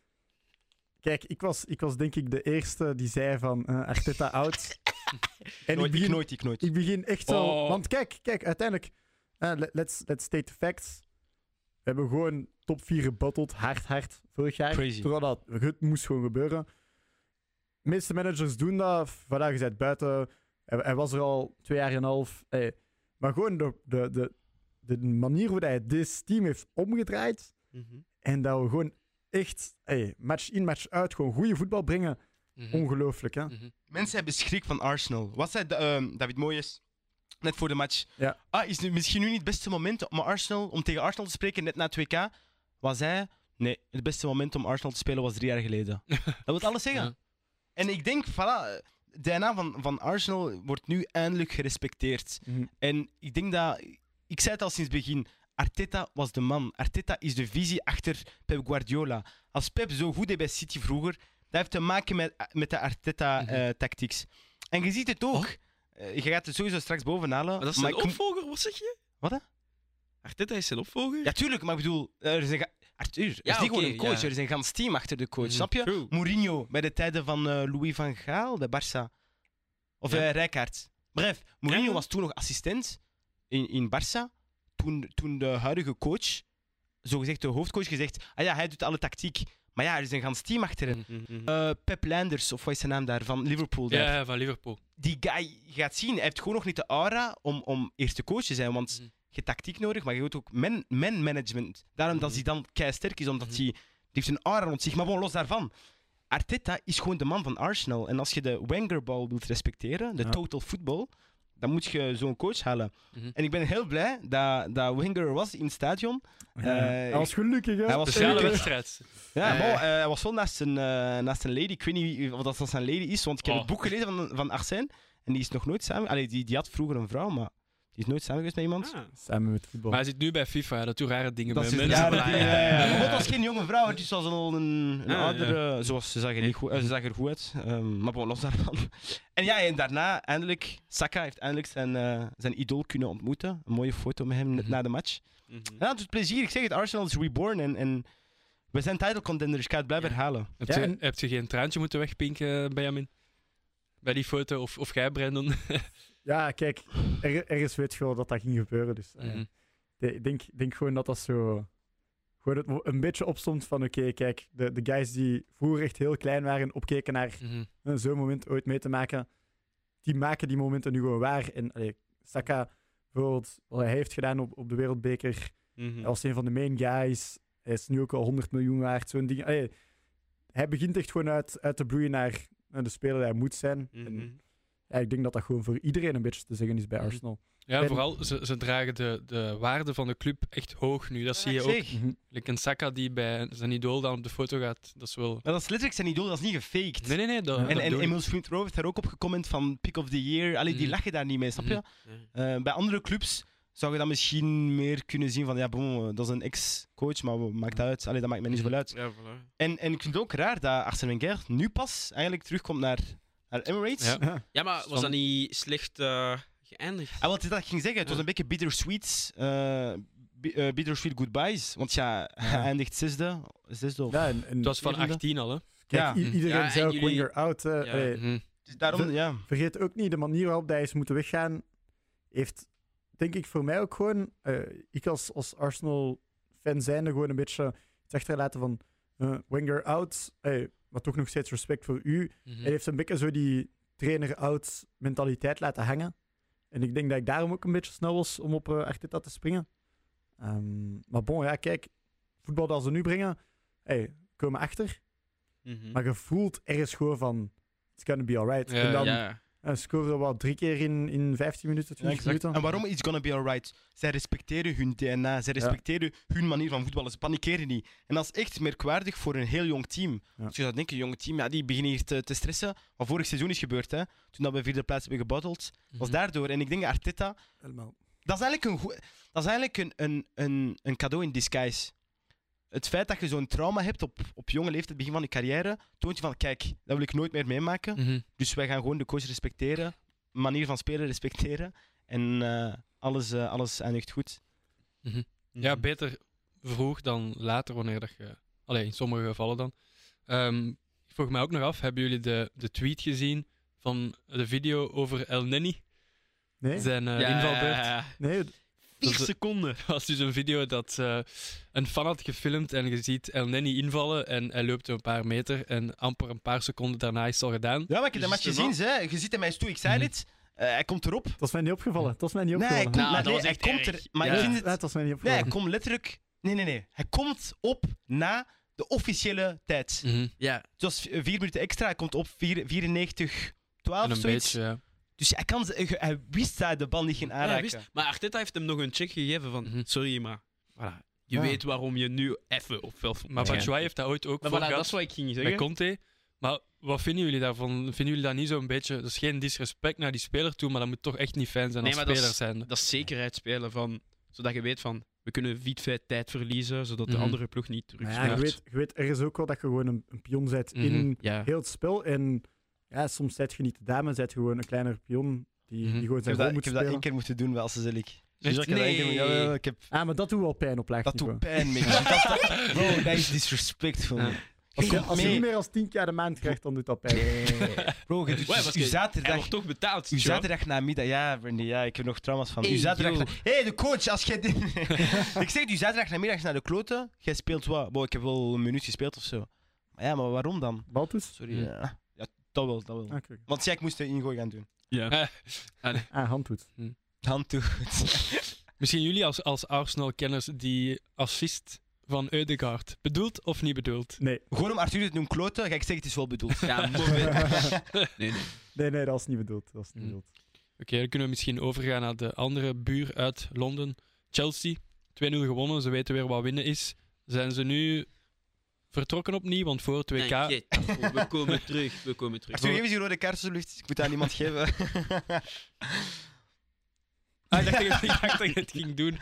D: Kijk, ik was, ik was denk ik de eerste die zei van eh Arteta out. en ik
C: Nooit, ik
D: begin,
C: nooit, ik nooit.
D: ik begin echt zo.
A: Oh.
D: Want kijk, kijk, uiteindelijk. eh, let- let's, let's state the facts. We hebben gewoon top 4 gebotteld, hard, hard, vorig jaar.
C: Crazy.
D: Terwijl dat, het moest gewoon gebeuren. De meeste managers doen dat. Vandaag is hij buiten. Hij, hij was er al twee jaar en een half. Eh, maar gewoon de, de, de, de manier hoe hij dit team heeft omgedraaid. En dat we gewoon echt eh, match in, match uit, gewoon goede voetbal brengen.
A: Mhm.
D: Ongelooflijk, hè?
A: Mhm.
C: Mensen hebben schrik van Arsenal. Wat zei Da- ehm, David Moyes net voor de match?
D: Ja.
C: Ah, is nu misschien nu niet het beste moment om, Arsenal, om tegen Arsenal te spreken, net na het WK? Was hij? Nee, het beste moment om Arsenal te spelen was drie jaar geleden. dat wil alles zeggen.
A: Ja.
C: En ik denk, voilà, het DNA van, van Arsenal wordt nu eindelijk gerespecteerd.
D: Mhm.
C: En ik denk dat, ik zei het al sinds het begin, Arteta was de man. Arteta is de visie achter Pep Guardiola. Als Pep zo goed deed bij City vroeger, dat heeft te maken met, met de
A: Mhm.
C: Arteta-tactics. en je ziet het ook. Eh, je gaat het sowieso straks bovenhalen.
E: Oh. Maar dat is zijn
C: ik-
E: opvolger, wat zeg je?
C: Wat, hè?
E: Arteta is zijn opvolger?
C: Ja, tuurlijk, maar ik bedoel, eh, er is een... ga- Arthur, er is
E: Ja,
C: niet
E: oké,
C: gewoon een coach,
E: ja.
C: er is een gans team achter de coach,
A: Mhm.
C: snap je?
E: True.
C: Mourinho bij de tijden van eh, Louis van Gaal bij Barça. Of
E: Ja.
C: eh, Rijkaard. Bref, Mourinho
E: Ja.
C: was toen nog assistent in, in Barça. Toen, toen de huidige coach, zogezegd de hoofdcoach, gezegd: Ah ja, hij doet alle tactiek. Maar ja, er is een gans team achter
E: Mhm.
C: hem.
E: Mm-hmm.
C: Eh, Pep Landers, of wat is zijn naam daar, van Liverpool. Daar.
A: Ja, van Liverpool.
C: Die guy je gaat zien, hij heeft gewoon nog niet de aura om, om eerste coach te zijn. Want
A: Mhm.
C: je hebt tactiek nodig, maar je hebt ook man, man management. Daarom dat
A: Mhm.
C: hij dan kei sterk is, omdat
A: Mhm.
C: hij die heeft een aura rond zich. Maar bon, los daarvan. Arteta is gewoon de man van Arsenal. En als je de Wengerbal wilt respecteren, de
D: Ja.
C: total football, dan moet je zo'n coach halen.
A: Mhm.
C: En ik ben heel blij dat, dat Wenger er was in het stadion.
D: hij was gelukkig, hè?
C: hij was
A: Speciale
C: Zeker.
A: wedstrijd.
C: Ja,
A: Eh.
C: bon, eh, hij was wel naast een, eh, naast een lady. Ik weet niet wie- of dat zijn lady is, want ik heb
A: Oh.
C: het boek gelezen van, van Arsène. En die is nog nooit samen... Allee, die, die had vroeger een vrouw, maar die is nooit samen geweest met iemand.
E: Ah.
D: Samen met voetbal.
A: Maar hij zit nu bij FIFA, hè. dat doet rare dingen
C: Dat
A: met
C: is
A: mensen.
C: ja, dat,
E: voilà,
C: ja,
E: ja,
C: ja, ja.
E: ja.
C: Maar dat eh, was geen jonge vrouw, het was al een, een
E: Ah, ja.
C: oudere. Zoals ze zag er, niet goed, eh, ze zag er goed uit, ehm, maar bon, los daarvan. En ja, en daarna eindelijk, Saka heeft eindelijk zijn, eh, zijn idool kunnen ontmoeten. Een mooie foto met hem net
A: Mhm.
C: na de match.
E: Mhm.
C: Ja, het doet plezier, ik zeg het, Arsenal is reborn en, en we zijn title contenders, ik ga het blijven herhalen.
A: Heb, je,
D: Ja, en-
A: heb je geen traantje moeten wegpinken, Benjamin? bij die foto, of, of jij, Brandon.
D: Ja, kijk, er, ergens weet je wel dat dat ging gebeuren. Dus eh,
A: Mhm.
D: de- ik denk, denk gewoon dat dat zo. Gewoon het, mo- een beetje opstond van: oké, kijk, de, de guys die vroeger echt heel klein waren, opkeken naar
A: Mhm.
D: eh, zo'n moment ooit mee te maken, die maken die momenten nu gewoon waar. En allee, Saka, bijvoorbeeld, wat hij heeft gedaan op, op de Wereldbeker,
E: Mhm.
D: als een van de main guys, hij is nu ook al 100 miljoen waard, zo'n ding. Allee, hij begint echt gewoon uit, uit te bloeien naar, naar de speler die hij moet zijn.
E: Mhm.
D: En ja, ik denk dat dat gewoon voor iedereen een beetje te zeggen is bij
A: Mhm.
D: Arsenal.
A: Ja,
D: Ben-
A: vooral, ze, ze dragen de, de waarde van de club echt hoog nu. Dat zie je ook.
E: Mhm.
C: Zeg,
A: Like een Saka die bij zijn idool dan op de foto gaat, dat is wel...
C: Maar dat is letterlijk zijn idool, dat is niet gefaked.
A: Nee, nee, nee. Dat,
D: En-
A: dat
C: En, en
A: bedoel ik.
C: Emil Smith Rowe heeft daar ook op gecomment van pick of the year. Allee, die
A: Mhm.
C: lachen daar niet mee, snap je?
E: Ja.
C: Eh, bij andere clubs zou je dat misschien meer kunnen zien van ja, bon, eh, dat is een ex-coach, maar wat maakt dat uit? Allee, dat maakt mij niet
A: Mhm.
C: zoveel uit.
E: Ja, voilà.
C: En, en ik vind het ook raar dat Arsene Wenger nu pas eigenlijk terugkomt naar, naar Emirates.
A: Ja.
E: ja, maar was
A: Stan-
E: dat niet slecht eh, geëindigd?
C: En wat ik Ah, dat ging zeggen, het was een beetje bittersweet, eh, bi- eh, bittersweet goodbyes. Want ja, hij eindigt zevende. zesde of...
D: Ja, en, en
A: Het was van
C: Zevende.
A: 18 al, hè.
D: kijk,
C: ja.
D: i- iedereen
E: Ja, en
D: zei ook
E: jullie-
D: Wenger out. eh,
E: Ja.
D: allee,
A: Mhm.
C: Dus daarom,
D: De-
C: ja.
D: vergeet ook niet, de manier waarop hij is moeten weggaan, heeft denk ik voor mij ook gewoon, eh, ik als, als Arsenal-fan zijnde, gewoon een beetje het achterlaten van eh, Wenger out, eh, maar toch nog steeds respect voor u.
A: Mhm.
D: Hij heeft een beetje zo die trainer-out mentaliteit laten hangen. En ik denk dat ik daarom ook een beetje snel was om op eh Arteta te springen. Ehm, maar bon, ja, kijk, voetbal dat ze nu brengen, hey, komen achter.
E: Mhm.
D: Maar je voelt ergens gewoon van, it's gonna be alright. en dan
E: ja.
D: eh, scoren we al drie keer in, in 15 minuten, 20 minuten.
C: En waarom is gonna be alright? Zij respecteren hun DNA, zij respecteren hun manier van voetballen, ze panikeren niet. En dat is echt merkwaardig voor een heel jong team.
D: Ja.
C: Als je zou denken, een jong team, ja, die beginnen hier te, te stressen. Wat vorig seizoen is gebeurd, hè, toen dat we vierde plaats hebben gebotteld, was
A: Mhm.
C: daardoor. En ik denk Arteta,
D: Helemaal.
C: dat is eigenlijk een, goe- dat is eigenlijk een, een, een, een cadeau in disguise. Het feit dat je zo'n trauma hebt op, op jonge leeftijd, begin van je carrière, toont je van, kijk, dat wil ik nooit meer meemaken.
A: Mhm.
C: Dus wij gaan gewoon de coach respecteren, manier van spelen respecteren. En eh, alles, eh, alles eindigt goed.
D: Mhm.
E: Mm-hmm.
A: Ja, beter vroeg dan later, wanneer dat je... Allee, in sommige gevallen dan. Ehm, ik vroeg mij ook nog af, hebben jullie de, de tweet gezien van de video over El Nenny?
D: Nee,
A: Zijn eh,
E: Ja,
A: invalbeurt?
E: ja, ja.
D: nee,
E: Vier
A: Dat is-
E: seconden.
A: Dat was dus een video dat eh, een fan had gefilmd en je ziet El Nenny invallen en hij loopt een paar meter en amper een paar seconden daarna is het al gedaan.
C: Ja, maar ik heb dat match
E: Juist,
C: gezien, hè. je ziet hem, hij Dus is toe, ik zei
A: Mhm.
C: dit. Eh, hij komt erop.
D: dat is mij niet opgevallen. Dat is mij niet
C: Nee, hij komt,
D: opgevallen.
E: Nou,
C: maar
E: dat
C: nee,
E: was
C: hij
E: echt
C: komt
E: erg.
C: er. Maar
E: Ja.
C: ik
D: Ja,
C: vind het...
D: dat was mij niet
C: Nee,
D: opgevallen.
C: hij komt letterlijk... Nee, nee, nee. Hij komt op na de officiële tijd.
A: Mhm.
E: Ja,
C: Het was eh, vier minuten extra, hij komt op 94, 12
A: En een
C: zoiets.
A: beetje, eh, ja.
C: Dus hij, kan, ze- ge- hij wist dat hij de bal niet ging
E: ja,
C: aanraken.
E: wist. Maar Arteta heeft hem nog een check gegeven van...
A: Mhm.
E: Sorry, maar... Voilà. Je
D: Ja.
E: weet waarom je nu even op veld
A: Maar
E: moet gaan.
A: Batshuayi heeft dat ooit ook
E: Maar
A: voor
E: voilà, dat
A: gehad
E: is wat ik ging
A: bij
E: zeggen.
A: Conte. Maar wat vinden jullie daarvan? Vinden jullie dat niet zo'n beetje... Dat is geen disrespect naar die speler toe, maar dat moet toch echt niet fijn zijn
E: Nee,
A: als
E: maar dat
A: speler
E: is-
A: zijn.
E: Dat is zekerheid spelen van... Zodat je weet van... We kunnen Viet tijd verliezen, zodat
A: Mhm.
E: de andere ploeg niet
D: Maar ja, je
E: terugspeelt.
D: weet, je weet ergens ook wel dat je gewoon een, een pion bent
A: Mhm,
D: in
E: ja.
D: heel het spel. En ja, soms zet je niet de dame, zet je gewoon een kleiner pion
A: Mhm.
D: die, die gewoon
C: Ik heb,
D: zijn
C: dat,
D: rol
C: ik
D: moet
C: heb dat één
D: spelen.
C: keer moeten doen wel Sezelik.
A: Echt?
C: ik heb dat één keer-
E: Nee.
C: ja, ja, ja, ik heb
D: Ah, maar dat doet wel pijn op laag
C: Dat doet
D: niveau.
C: pijn, Mick. Dat- dat- Bro, dat is disrespectful.
A: Ja.
D: Als je,
C: Kom
D: als je
C: mee.
D: niet meer als 10 jaar de maand krijgt, dan doet dat pijn.
C: Bro, je doet
E: Wait, wat
C: uw
E: is- Hij
C: zaterdag...
E: wordt toch betaald,
C: Uw
E: Joe.
C: zaterdag namiddag, ja, Brandy, ja, ik heb nog trauma's van. Uw
E: Hey,
C: zaterdag.
E: yo.
C: Hé, hey, de coach, als jij dit. ik zeg, uw zaterdag namiddag is naar de kloten. Jij speelt wat? Bo, ik heb wel een minuut gespeeld of zo. Maar ja, maar waarom dan?
D: Baltus? Ah,
C: Sorry. Ja, ja dat wel, dat wel.
D: Oké.
C: Want ja, ik moest de ingooi gaan doen.
A: Eh,
D: Ah, handtoets.
C: Handtoet.
A: misschien jullie als, als Arsenal-kenners die assist van Eudegaard. Bedoeld of niet bedoeld?
D: Nee.
C: Gewoon om Arthur het noemt kloten, ga ik zeggen, het is wel bedoeld.
E: Ja, maar- nee, nee.
D: Nee, nee, dat is niet bedoeld. Dat is niet
A: Mhm.
D: bedoeld.
A: Oké, dan kunnen we misschien overgaan naar de andere buur uit Londen. Chelsea, 2-0 gewonnen. Ze weten weer wat winnen is. Zijn ze nu vertrokken opnieuw? Want voor 2K...
E: Nee, kijk, we komen terug, we komen terug.
C: Arthur, geef eens die rode kaart, alsjeblieft. Ik moet dat aan iemand geven.
A: Ah, ik dacht dat je- ik dacht dat je het ging doen.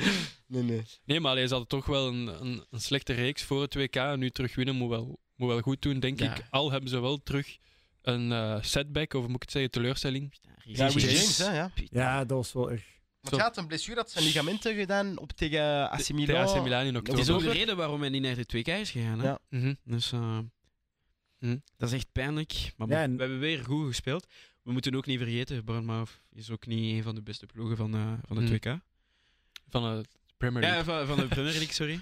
C: nee, nee.
A: Nee, maar allee, ze hadden toch wel een, een, een slechte reeks voor het WK. En nu terug winnen moet wel, moet wel goed doen, denk
E: Ja.
A: ik. Al hebben ze wel terug een eh, setback, of moet ik het zeggen, teleurstelling.
C: Ja,
A: Reece
C: Reece
A: James.
C: James, hè, ja.
D: Ja, dat was wel erg.
C: Want ja, het een blessure had zijn ligamenten gedaan op tegen AC
A: Te-
C: Milan.
A: tegen AC Milan in
E: Dat is
A: oktober.
E: ook de reden waarom hij niet naar de 2K is gegaan. Hè?
C: Ja.
A: Mhm.
E: Dus eh, hm,
A: Hm.
E: dat is echt pijnlijk. Maar
D: Ja,
E: bon,
D: en-
E: we hebben weer goed gespeeld. We We moeten ook niet vergeten, Bournemouth is ook niet een van de beste ploegen van, eh, van het
A: Hmm.
E: WK.
A: Van de Premier League.
E: Ja, van, van de Premier League, sorry.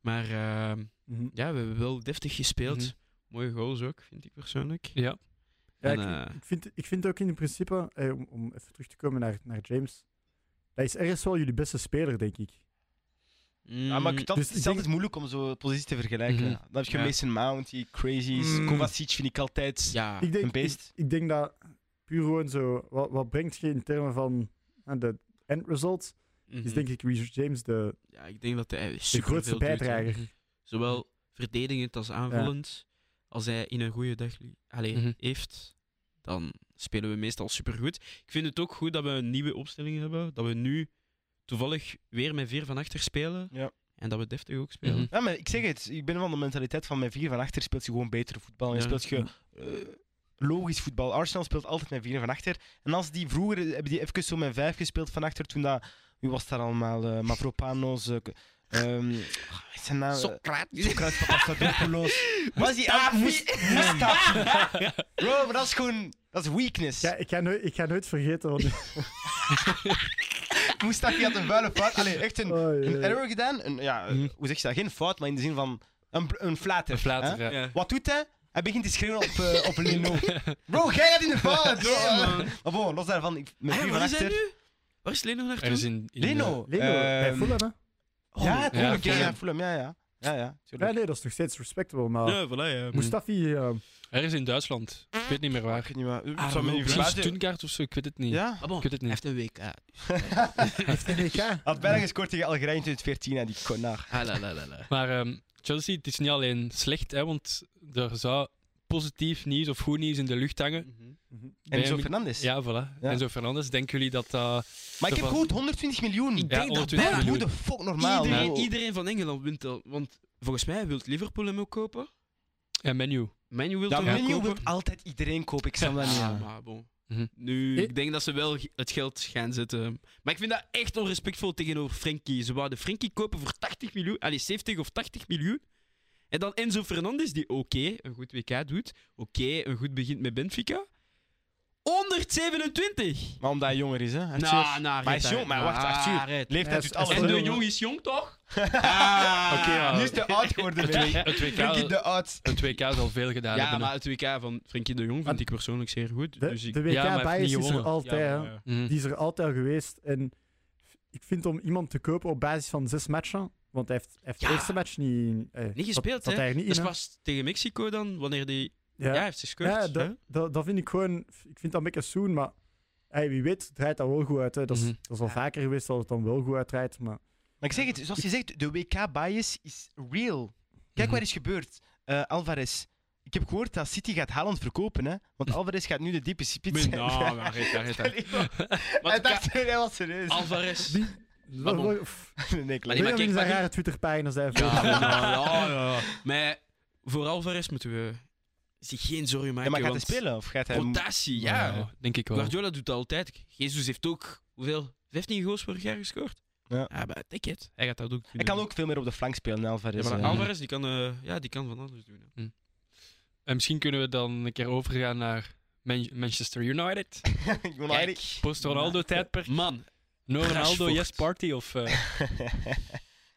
E: Maar ehm,
D: Mhm.
E: ja, we hebben wel deftig gespeeld.
A: Mhm.
E: Mooie goals ook, vind ik persoonlijk.
A: Ja.
D: Ja,
E: En,
D: ik,
E: eh,
D: ik vind, ik vind ook in principe, eh, om, om even terug te komen naar, naar James, dat is ergens wel jullie beste speler, denk ik.
C: Ja, maar
E: Mm,
C: dat
D: Dus
C: is
D: ik denk-
C: altijd moeilijk om zo posities te vergelijken.
A: Mhm.
C: Dan heb je
E: Ja.
C: Mason Mount, die crazy is.
D: Mm.
C: Kovacic vind ik altijd...
E: ja.
D: ik denk,
C: een beest.
D: Ik, ik denk dat puur gewoon zo, wat, wat brengt je in termen van eh, de end result,
E: Mhm.
D: is denk ik Reece James de,
E: ja, ik denk dat hij
D: de
E: superveel
D: grootste
E: doet, hè.
D: bijdrager.
E: Zowel verdedigend als aanvullend. Als hij in een goede dag li- allee,
A: Mhm.
E: heeft, dan spelen we meestal supergoed. Ik vind het ook goed dat we een nieuwe opstelling hebben. Dat we nu toevallig weer met vier van achter spelen.
C: Ja.
E: En dat we deftig ook spelen.
A: Mhm.
C: Ja, maar ik zeg het, ik ben van de mentaliteit van mijn vier van achter speelt je gewoon beter voetbal. En
E: Ja.
C: speelt je eh, logisch voetbal. Arsenal speelt altijd met vier van achter. En als die vroeger eh, hebben die even zo met vijf gespeeld van achter, toen dat. Wie was daar allemaal? eh Mavropanos. eh, k- ehm, ah, wat is zijn naam?
E: Socrates.
C: Socrates Papadopoulos. Was die aan? Bro, maar dat is gewoon. Dat is weakness.
D: Ja, ik ga, nooit, ik ga nooit vergeten. Want,
C: Mustafi had een vuile fout. Allee, echt een,
D: Oh, jee.
C: een error gedaan. Een, ja, eh,
A: Mhm.
C: Hoe zeg je dat? Geen fout, maar in de zin van. Een, bl- een flater.
A: Een flater,
C: hè?
A: ja.
E: Ja.
C: Wat doet hij? Hij begint te schreeuwen op, eh, op Leno. Bro, jij gaat in de fout! bro. Maar bon, los daarvan, ik, mijn
E: Ah,
C: vier van
E: waar is hij
C: achter.
E: nu? Waar is Leno naartoe?
A: Er is in, in
C: Leno!
D: Leno, bij
E: Eh,
C: Ehm,
D: Fulham, hè?
C: Ja, tuurlijk. Ja,
A: Fulham.
C: ja, Fulham, ja, ja. Ja, ja,
D: Ja,
C: tuurlijk.
D: nee, dat is nog steeds respectable, maar
E: Ja, voilà, ja.
D: Mustafi... eh,
A: eh, er is in Duitsland. Ik weet niet meer
C: Ik
A: waar.
C: weet niet meer. Ik
E: Ah,
C: zou me niet
A: Misschien
C: verbazen.
A: Stuttgart of zo, ik weet het niet.
C: Ja.
E: Ah, bon,
A: Ik weet het
E: Hij
A: niet.
E: heeft een week. Ah,
D: heeft een EK.
C: Had bijna gescoord tegen Algerije in 2014, hè, die konaar.
E: ah, la, la, la, la.
A: Maar ehm, Chelsea, het is niet alleen slecht, hè, want er zou positief nieuws of goed nieuws in de lucht hangen.
D: Mhm.
C: En zo
A: Benjamin-
C: Fernandes.
A: Ja, voilà.
C: Ja.
A: En zo Fernandes, denken jullie dat eh, dat...
C: Maar ik heb
A: Zo van-
C: gehoord 120 miljoen.
A: Ja,
E: denk dat
A: 120
E: bijna-
C: Man, hoe
A: miljoen.
C: de fuck normaal?
E: Iedereen,
C: bro?
E: iedereen van Engeland wint al. Want volgens mij wil Liverpool hem ook kopen.
A: En menu.
E: Menu wil
C: Ja,
E: hem ook
C: Menu
E: kopen.
C: wil altijd iedereen kopen. Ik snap dat niet.
E: Ah,
C: hè.
E: maar bon.
A: Mhm.
E: Nu,
D: Eh?
E: ik denk dat ze wel ge- het geld gaan zetten. Maar ik vind dat echt onrespectvol tegenover Frenkie. Ze wouden Frenkie kopen voor 80 miljoen, allee, 70 of 80 miljoen. En dan Enzo Fernandes, die oké, een goed WK doet. Oké, een goed begint met Benfica. 127!
C: Maar omdat hij jonger is, hè? Arthur.
E: Nou, nou,
C: maar hij is
E: Arrête,
C: jong, maar wacht,
E: ah,
C: Arthur.
E: Arrête.
C: Leeftijd doet
D: Hij is-
C: alles.
E: En
D: Sorry,
E: de Ah.
D: jongen.
E: jong is jong, toch? Ah.
A: Oké, ja.
C: Nu is hij oud geworden,
A: Het,
C: ben ik.
A: W- het WK,
C: Denk ik de oud.
A: het WK zal veel gedaan
E: Ja,
A: hebben. hè.
E: maar het WK van Frenkie de Jong vind ik persoonlijk zeer goed.
D: De,
E: dus ik...
D: de WK
A: Ja, maar hij heeft
D: bias
A: niet
D: is er
A: gewonnen.
D: altijd.
E: Ja,
D: hè.
E: maar, ja.
A: Mhm.
D: Die is er altijd al geweest. En ik vind om iemand te kopen op basis van zes matchen, want hij heeft, hij heeft
E: Ja.
D: de eerste match niet, eh, zat-
E: gespeeld,
D: zat
E: hè?
D: hij er niet
E: Dat
D: in,
E: is
D: hè.
E: pas tegen Mexico dan, wanneer die... Ja,
D: Ja,
E: hij heeft gescoord.
D: Ja,
E: hè?
D: dat, dat, dat vind ik gewoon. Ik vind dat een beetje soon, maar hey, wie weet draait dat wel goed uit. Hè. Dat, is,
A: Mhm.
D: dat is al vaker geweest dat het dan wel goed uitdraait. Maar
C: Maar ik zeg het, zoals je zegt, de WK-bias is real. Kijk
A: Mhm.
C: wat er is gebeurd. Eh, Alvarez. Ik heb gehoord dat City gaat Haaland verkopen, hè. Want Alvarez gaat nu de diepe spits
E: Maar
C: zijn.
E: nou, maar reet daar, reet daar.
C: Hij
E: Maar
C: dacht, hij was serieus.
E: Alvarez.
D: Die-
E: Maar bon.
D: Pff,
C: nee,
E: Maar
C: klopt.
D: Benjamin
E: die maakt echt
D: zijn
E: maar-
D: rare Twitterpagina's daar.
E: Ja,
D: veel.
E: maar nou, ja, ja. Maar voor Alvarez moeten we zich geen zorgen
C: Ja,
E: maken.
C: maar gaat hij
E: want
C: spelen? Of gaat hij...
E: Rotatie, ja.
A: Ja, denk ik wel.
E: Guardiola doet dat altijd. Jesus heeft ook, hoeveel? 15 goals vorig jaar gescoord.
C: Ja.
E: maar take it. Hij gaat dat ook
C: Hij
E: kunnen
C: kan
E: doen.
C: ook veel meer op de flank spelen, hè,
E: Ja,
C: Alvarez.
E: maar
C: eh.
E: Alvarez, die kan, eh, ja, die kan van alles doen. hè.
A: En misschien kunnen we dan een keer overgaan naar Man- Manchester United.
C: Ik ben eigenlijk-
A: Post-Ronaldo-tijdperk.
E: Man,
A: No Ronaldo,
E: Rashford.
A: yes party. Of, eh,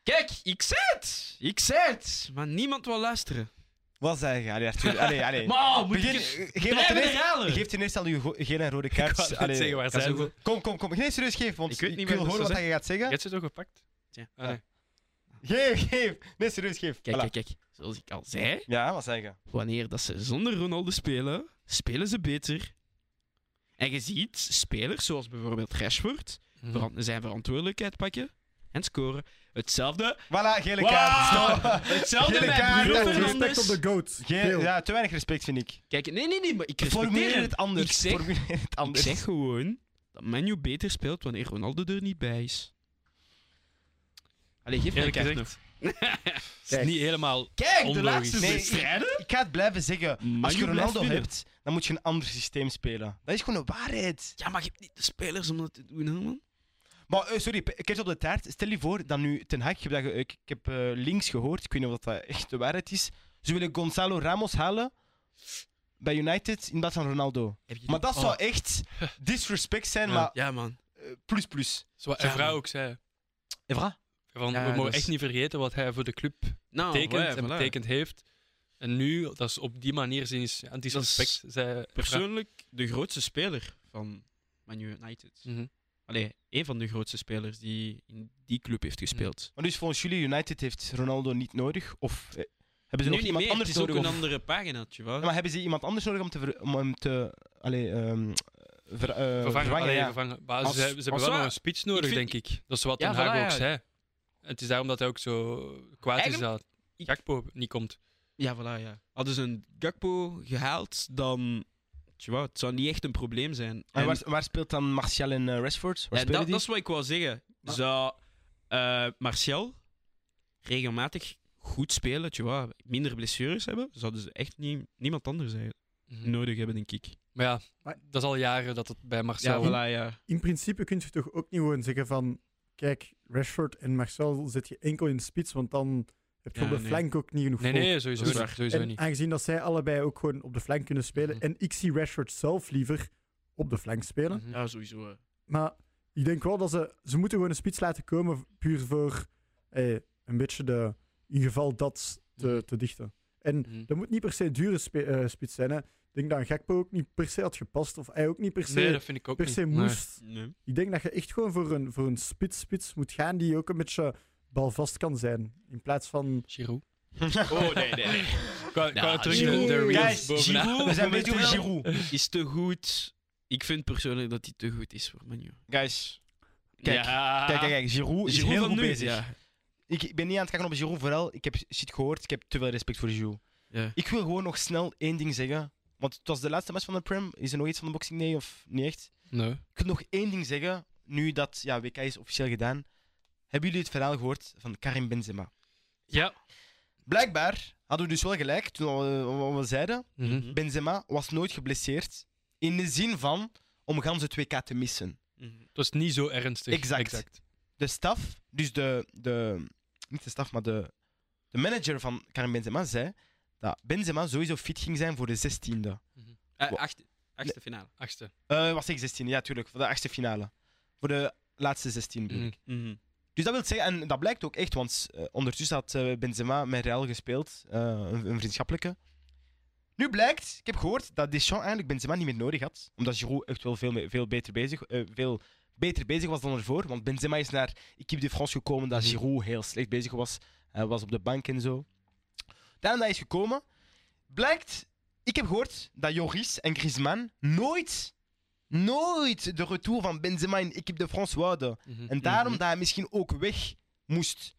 E: kijk, ik zei het! Ik zei het! Maar niemand wil luisteren.
C: Wat zeg je? Allee, Arthur. Allee, allee.
E: Maar moet
C: Begin-
E: ik het
C: geef al
E: blijven
C: ten eerste-
E: herhalen?
C: Geef ten eerste al uw go- gele en rode
A: ik
C: kaart.
A: wou net
C: Allee.
A: zeggen, waar
E: dat is
A: zijn
E: ook
A: we?
C: Kom, kom, kom. Nee, serieus, geef. Want
E: Ik
C: ik,
E: weet niet meer
C: wil
E: wat
C: horen
E: dat
C: wat je gaat zeggen.
A: Je hebt ze toch gepakt?
E: Tja.
A: Ah, nee.
C: Geef, geef. Nee, serieus, geef.
E: Kijk,
C: Voilà.
E: kijk, kijk. Zoals ik al zei,
C: Ja, wat zeg je?
E: wanneer dat ze zonder Ronaldo spelen, spelen ze beter. En je ziet spelers zoals bijvoorbeeld Rashford
A: Mhm.
E: veran- zijn verantwoordelijkheid pakken en scoren. Hetzelfde.
C: Voilà, gele
E: Wow!
C: kaart. Stop.
E: Hetzelfde
C: Gele
E: met
C: kaart,
E: Bruno
C: dat is
D: Respect
E: Fernandes.
D: op de goat.
C: Geen,
D: Veel.
C: ja, te weinig respect vind ik.
E: Kijk, nee, nee, nee, maar ik respecteer
C: Formuleer
E: hem.
C: het anders.
E: Ik zeg-
C: Formuleer het
E: Ik
C: anders.
E: zeg gewoon dat Menu beter speelt wanneer Ronaldo er niet bij is. Allee, geef mij een
A: Eerlijk
E: kaart
A: gezegd,
E: nog.
A: het is niet helemaal...
E: Kijk, de
A: onlogisch.
E: laatste
C: Nee,
E: zes strijden.
C: Ik ga het blijven zeggen. Als
E: Menu
C: je
E: blijft
C: Ronaldo
E: winnen.
C: hebt, dan moet je een ander systeem spelen. Dat is gewoon een waarheid.
E: Ja, maar je hebt niet de spelers om dat te doen, hè, man.
C: Maar eh, sorry, p- kerst op de taart. Stel je voor dat nu Ten Hag, ik heb, dat ge- ik, ik heb eh, links gehoord, ik weet niet of dat echt de waarheid is. Ze willen Gonzalo Ramos halen bij United in plaats van Ronaldo.
E: Heb je Ah,
C: Maar dat
A: Oh.
C: zou echt disrespect zijn,
A: Ja.
C: maar
E: Ja, man.
C: eh, plus plus.
A: Zoals een vrouw ook zei.
C: Evra?
A: Van,
E: Ja,
A: we mogen
E: dat is-
A: echt niet vergeten wat hij voor de club
E: Nou,
A: betekent
E: ouais,
A: en
E: voilà.
A: betekend heeft. En nu, dat is op die manier zien, is ja, disrespect. zei
E: Persoonlijk de grootste speler van Man United.
A: Mhm.
E: Allee, één van de grootste spelers die in die club heeft gespeeld.
C: Maar dus volgens jullie, United heeft Ronaldo niet nodig? Of eh, hebben ze
E: Nu
C: nog iemand
E: niet meer, het
C: anders
E: is ook
C: nodig?
E: een
C: of-
E: andere pagina, tu vois.
C: Ja, maar hebben ze iemand anders nodig om, te ver- om hem te... Allee, ehm, ver- eh,
A: vervangen.
C: vervangen,
A: Allee,
C: ja.
A: vervangen. Maar
E: Als-
A: ze, ze hebben
E: als
A: wel
E: we-
A: nog een speech nodig,
E: ik vind-
A: denk ik. Dat is wat
E: Ja,
A: Den Haag
E: voilà,
A: ook
E: ja.
A: zei. Het is daarom dat hij ook zo kwaad
E: Eigenlijk-
A: is dat Gakpo niet komt.
E: Ja, voilà, ja. Hadden ze een Gakpo gehaald, dan... Tu vois, het zou niet echt een probleem zijn.
C: En
E: En-
C: waar, waar speelt dan Martial en eh, Rashford? Waar
E: Ja,
C: spelen
E: dat,
C: die?
E: dat is wat ik wou zeggen. Zou eh, Martial regelmatig goed spelen, tu vois, minder blessures hebben, zouden ze echt nie- niemand anders eigenlijk
C: Hmm.
A: Mhm.
E: nodig hebben, denk ik.
A: Maar ja,
D: Maar-
A: dat is al jaren dat het bij
E: Ja,
A: Marcel...
E: voilà, ja.
D: In principe kun je toch ook niet gewoon zeggen van... Kijk, Rashford en Marcel zet je enkel in de spits, want dan heb je
E: Ja,
D: op de
E: nee.
D: flank ook niet genoeg
A: Nee,
D: volk.
A: nee, sowieso
E: Dat is
A: niet.
E: waar.
A: Sowieso
D: en
A: niet.
D: aangezien dat zij allebei ook gewoon op de flank kunnen spelen...
A: Mhm.
D: En ik zie Rashford zelf liever op de flank spelen.
A: Mhm.
E: Ja, sowieso.
D: Maar ik denk wel dat ze... Ze moeten gewoon een spits laten komen puur voor eh, een beetje de... In geval dat te, te dichten. En
A: Mhm.
D: dat moet niet per se dure spe- eh, spits zijn. Hè. Ik denk dat Gakpo ook niet per se had gepast. Of hij ook niet per se,
A: Nee, dat vind ik ook
D: per
A: niet.
D: se
A: Nee.
D: moest.
E: Nee.
D: Ik denk dat je echt gewoon voor een, voor een spits-spits moet gaan die ook een beetje balvast kan zijn. In plaats van...
A: Giroud.
E: Oh, nee, nee, nee.
A: Qua, qua
E: Ja,
A: terug de,
E: Giroud.
A: de reels
C: Guys,
A: bovenaan.
C: Giroud, we zijn bezig over
E: Momenteel-
C: Giroud.
E: Is te goed. Ik vind persoonlijk dat hij te goed is voor Manu.
C: Guys, Kijk,
E: ja.
C: kijk, kijk, kijk, Giroud is heel
E: Ah, van
C: goed
E: nu,
C: bezig.
E: Ja.
C: Ik, ik ben niet aan het kijken op Giroud, vooral, ik heb shit gehoord, ik heb te veel respect voor Giroud.
E: Ja.
C: Ik wil gewoon nog snel één ding zeggen. Want het was de laatste match van de Prem. Is er nog iets van de boxing? Nee, of niet echt?
A: Nee.
C: Ik wil nog één ding zeggen. Nu dat ja, WK is officieel gedaan. Hebben jullie het verhaal gehoord van Karim Benzema?
A: Ja.
C: Blijkbaar hadden we dus wel gelijk toen we, wat we zeiden.
A: Mhm.
C: Benzema was nooit geblesseerd. In de zin van om gans het WK te missen.
E: Mhm.
A: Dat is niet zo ernstig.
C: Exact. De staf, dus de, de. Niet de staf, maar de, de manager van Karim Benzema zei. Dat Benzema sowieso fit ging zijn voor de 16e.
E: Eh, acht- achtste finale.
A: Achtste.
C: Eh was ik 16, ja, tuurlijk. Voor de achtste finale. Voor de laatste 16. bedoel ik.
A: Mhm.
E: Mhm.
C: Dus dat wil zeggen, en dat blijkt ook echt, want eh, ondertussen had eh, Benzema met Real gespeeld, eh, een, een vriendschappelijke. Nu blijkt, ik heb gehoord dat Deschamps eigenlijk Benzema niet meer nodig had, omdat Giroud echt wel veel, me- veel, beter, bezig, eh, veel beter bezig was dan ervoor. Want Benzema is naar Equipe de France gekomen dat
A: Mhm.
C: Giroud heel slecht bezig was. Hij was op de bank en zo. Daarna hij is gekomen, blijkt, ik heb gehoord dat Joris en Griezmann nooit, nooit de retour van Benzema in Equipe de France wouden.
A: Mhm.
C: En daarom
E: Mhm.
C: dat hij misschien ook weg moest.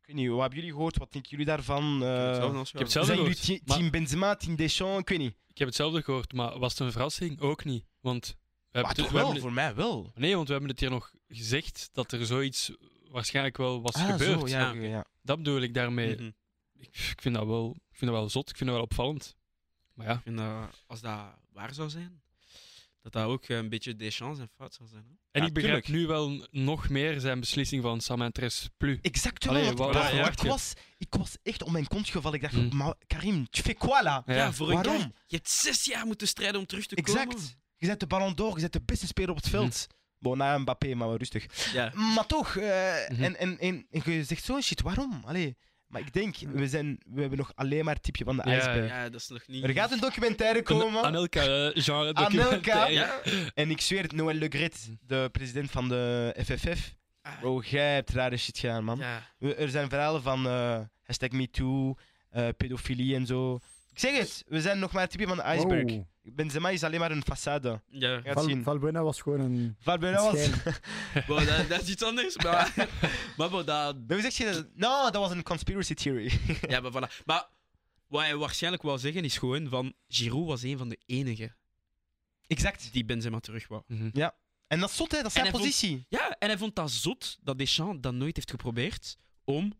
C: Ik weet niet, wat hebben jullie gehoord? Wat denken jullie daarvan? Eh,
E: Hetzelfde als
A: Ik heb
E: jou.
A: zelf
C: zijn jullie
A: gehoord,
C: te-
A: maar-
C: team Benzema, team Deschamps? Ik weet niet.
A: Ik heb hetzelfde gehoord, maar was het een verrassing? Ook niet. Want we
C: Maar
A: hebben,
C: Ah, toch
A: we
C: wel,
A: hebben-
C: voor mij wel.
A: nee, want we hebben het hier nog gezegd dat er zoiets waarschijnlijk wel was
C: Ah,
A: gebeurd.
C: zo, ja,
E: Ah,
C: oké, ja.
A: Dat bedoel ik daarmee.
E: Mhm.
A: Ik, ik vind dat wel, ik vind dat wel zot, ik vind dat wel opvallend. Maar ja,
E: Ik vind dat als dat waar zou zijn, dat dat ook eh, een beetje Deschamps en fout zou zijn. Hè?
A: en
E: Ja,
A: ik begrijp nu wel nog meer zijn beslissing van Samantres Plus.
C: Exact wel.
A: Allee,
C: want
A: wa-
C: ik
A: wa-
C: dacht-
A: ja,
C: maar
A: wacht,
C: ik,
A: ja.
C: was, ik was echt om mijn kont gevallen. Ik dacht,
A: Mm.
C: maar Karim, tu fais quoi là?
A: Ja,
E: voor een
C: Waarom?
E: guy- Je hebt zes jaar moeten strijden om terug te komen.
C: Exact. Je zet de ballon door, je zet de beste speler
A: Mm.
C: op het veld. Bon, na Mbappé, maar wel rustig.
E: Ja.
C: Maar toch, eh,
A: Mhm.
C: en, en, en, en je zegt zo'n shit, waarom? Allee. Maar ik denk, we, zijn, we hebben nog alleen maar het tipje van de
A: Ja,
C: ijsberg.
A: ja.
E: ja, dat is nog niet...
C: Er gaat een documentaire komen.
A: Aan elkaar eh, genre
C: Anelka.
A: documentaire.
E: Ja? Mm.
C: En ik zweer het, Noël Le Gret, de president van de FFF.
E: Ah,
C: Bro, Oh, jij hebt rare shit gedaan, man.
E: ja.
C: We- Er zijn verhalen van eh hashtag MeToo, eh, pedofilie en zo. Ik zeg het, we zijn nog maar het tipje van de iceberg.
D: Wow.
C: Benzema is alleen maar een façade.
E: Ja.
C: Je gaat
D: Val-
C: zien.
D: Valbuena was gewoon een...
C: Valbuena
D: een
C: was...
D: schijn.
E: Wow, dat, dat is iets anders, maar... maar, bon, dat...
C: Dan zeg je dat... No, nou, dat was een conspiracy theory.
E: Ja, maar voilà. Maar wat hij waarschijnlijk wou zeggen is gewoon van... Giroud was een van de enigen
C: exact.
E: die Benzema terug wou.
A: Mhm.
C: En dat is zot, hè. Dat is
E: En
C: zijn
E: hij vond-
C: positie.
E: Ja, en hij vond dat zot dat Deschamps dat nooit heeft geprobeerd om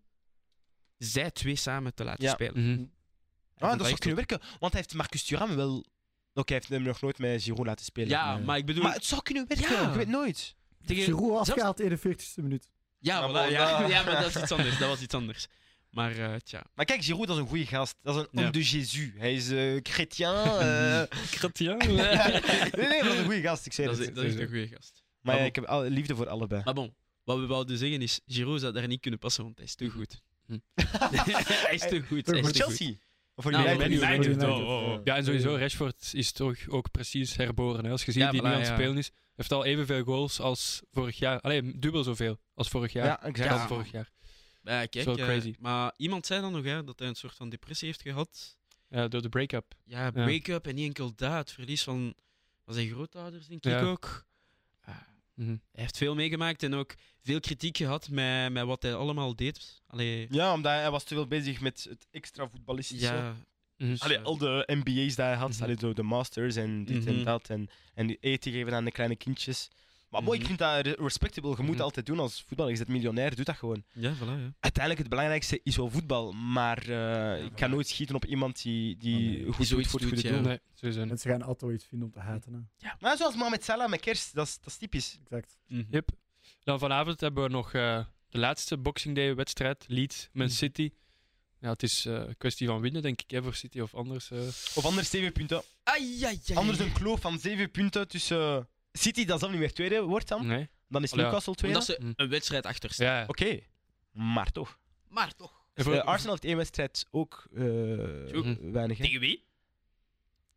E: zij twee samen te laten
C: Ja.
E: spelen.
A: Mhm.
E: Hij
C: Ah,
E: vond
C: dat zou
E: echt
C: kunnen werken. Want hij heeft Marcus Thuram wel... Oké, hij heeft hem nog nooit met Giroud laten
E: zot.
C: spelen.
E: Ja, maar ik bedoel...
C: Maar het zou kunnen werken.
E: Ja.
C: Je weet nooit.
E: tegen-
D: Giroud afgehaald in de 41ste minuut.
E: Ja,
C: Maar
E: voilà,
C: bon,
E: ja.
C: dat-
E: ja, maar dat is iets anders. Dat was iets anders. Maar eh, tja.
C: Maar kijk, Giroud dat is een goede gast. Dat is een
E: Ja.
C: homme de Jésus. Hij is eh chrétien. eh.
A: Chrétien.
C: nee, nee, maar dat is een goede gast, ik zeg
E: Dat
C: het.
E: is, Ah, dat is een goede gast.
C: Maar ja, ik heb al- liefde voor allebei.
E: Maar bon, wat we wilden zeggen is, Giroud zou daar niet kunnen passen, want hij is te goed. Hm. hij is te goed. Hij
C: Voor
E: is te goed.
C: Chelsea? Of voor
E: Nou,
C: United?
E: voor United.
A: United,
D: United,
A: oh, oh, oh. Ja, en sowieso, Rashford is toch ook precies herboren. Hè. Als je ziet
E: Ja,
A: die nu
E: voilà,
A: aan het
E: ja.
A: spelen is, heeft al evenveel goals als vorig jaar. Alleen dubbel zoveel als vorig jaar.
C: Ja, exact.
A: Dan
E: Ja.
A: vorig jaar.
E: Ja, kijk,
A: wel
E: eh,
A: crazy.
E: maar iemand zei dan nog hè, dat hij een soort van depressie heeft gehad.
A: Ja, Eh, door de break-up.
E: Ja, break-up en niet enkel dat. Het verlies van, van zijn grootouders, denk
A: Ja.
E: ik ook. Ah,
A: Mhm.
E: Hij heeft veel meegemaakt en ook veel kritiek gehad met, met wat hij allemaal deed. Allee,
C: Ja, omdat hij was te veel bezig met het extra voetballistische.
E: ja.
A: Mhm.
E: dus,
C: Allee,
E: eh,
C: al de MBA's die hij had,
E: Mhm.
C: allee, zo de masters en dit
E: Mhm.
C: en dat. En, en die eten geven aan de kleine kindjes. Maar mooi,
E: Mhm.
C: ik vind dat re- respectable. Je moet
E: Mhm.
C: dat altijd doen als voetballer. Je bent miljonair, doe dat gewoon.
E: Ja, voilà, ja.
C: Uiteindelijk het belangrijkste is wel voetbal. Maar eh, ik ga
E: voilà.
C: nooit schieten op iemand die, die
D: Oh, nee.
C: goed doet
E: zoiets
C: voor het
E: doet,
C: goede
E: ja.
C: doel.
A: Nee, sowieso niet.
D: Mensen gaan altijd iets vinden om te haten. Hè.
C: Maar zoals Mohamed Salah met kerst, dat is, dat is typisch.
D: Exact.
E: Mhm.
A: Yep. Dan vanavond hebben we nog eh, de laatste Boxing Day-wedstrijd. Leeds, Man
E: Mhm.
A: City. Ja, het is eh, een kwestie van winnen, denk ik, hè, voor City of anders. eh.
C: Of anders zeven punten.
E: Ai, ai, ai,
C: Anders
E: ai.
C: een kloof van zeven punten tussen eh, City, dat zelf niet meer tweede wordt dan.
A: Nee.
C: Dan is
A: Oh, ja.
C: Newcastle tweede.
E: Omdat ze
A: Mhm.
E: een wedstrijd achter staan.
A: Ja.
C: Oké, maar toch.
E: Maar toch.
A: En voor-
C: Eh, Arsenal heeft één wedstrijd ook eh,
A: Zo.
C: weinig. Hè?
E: Tegen wie?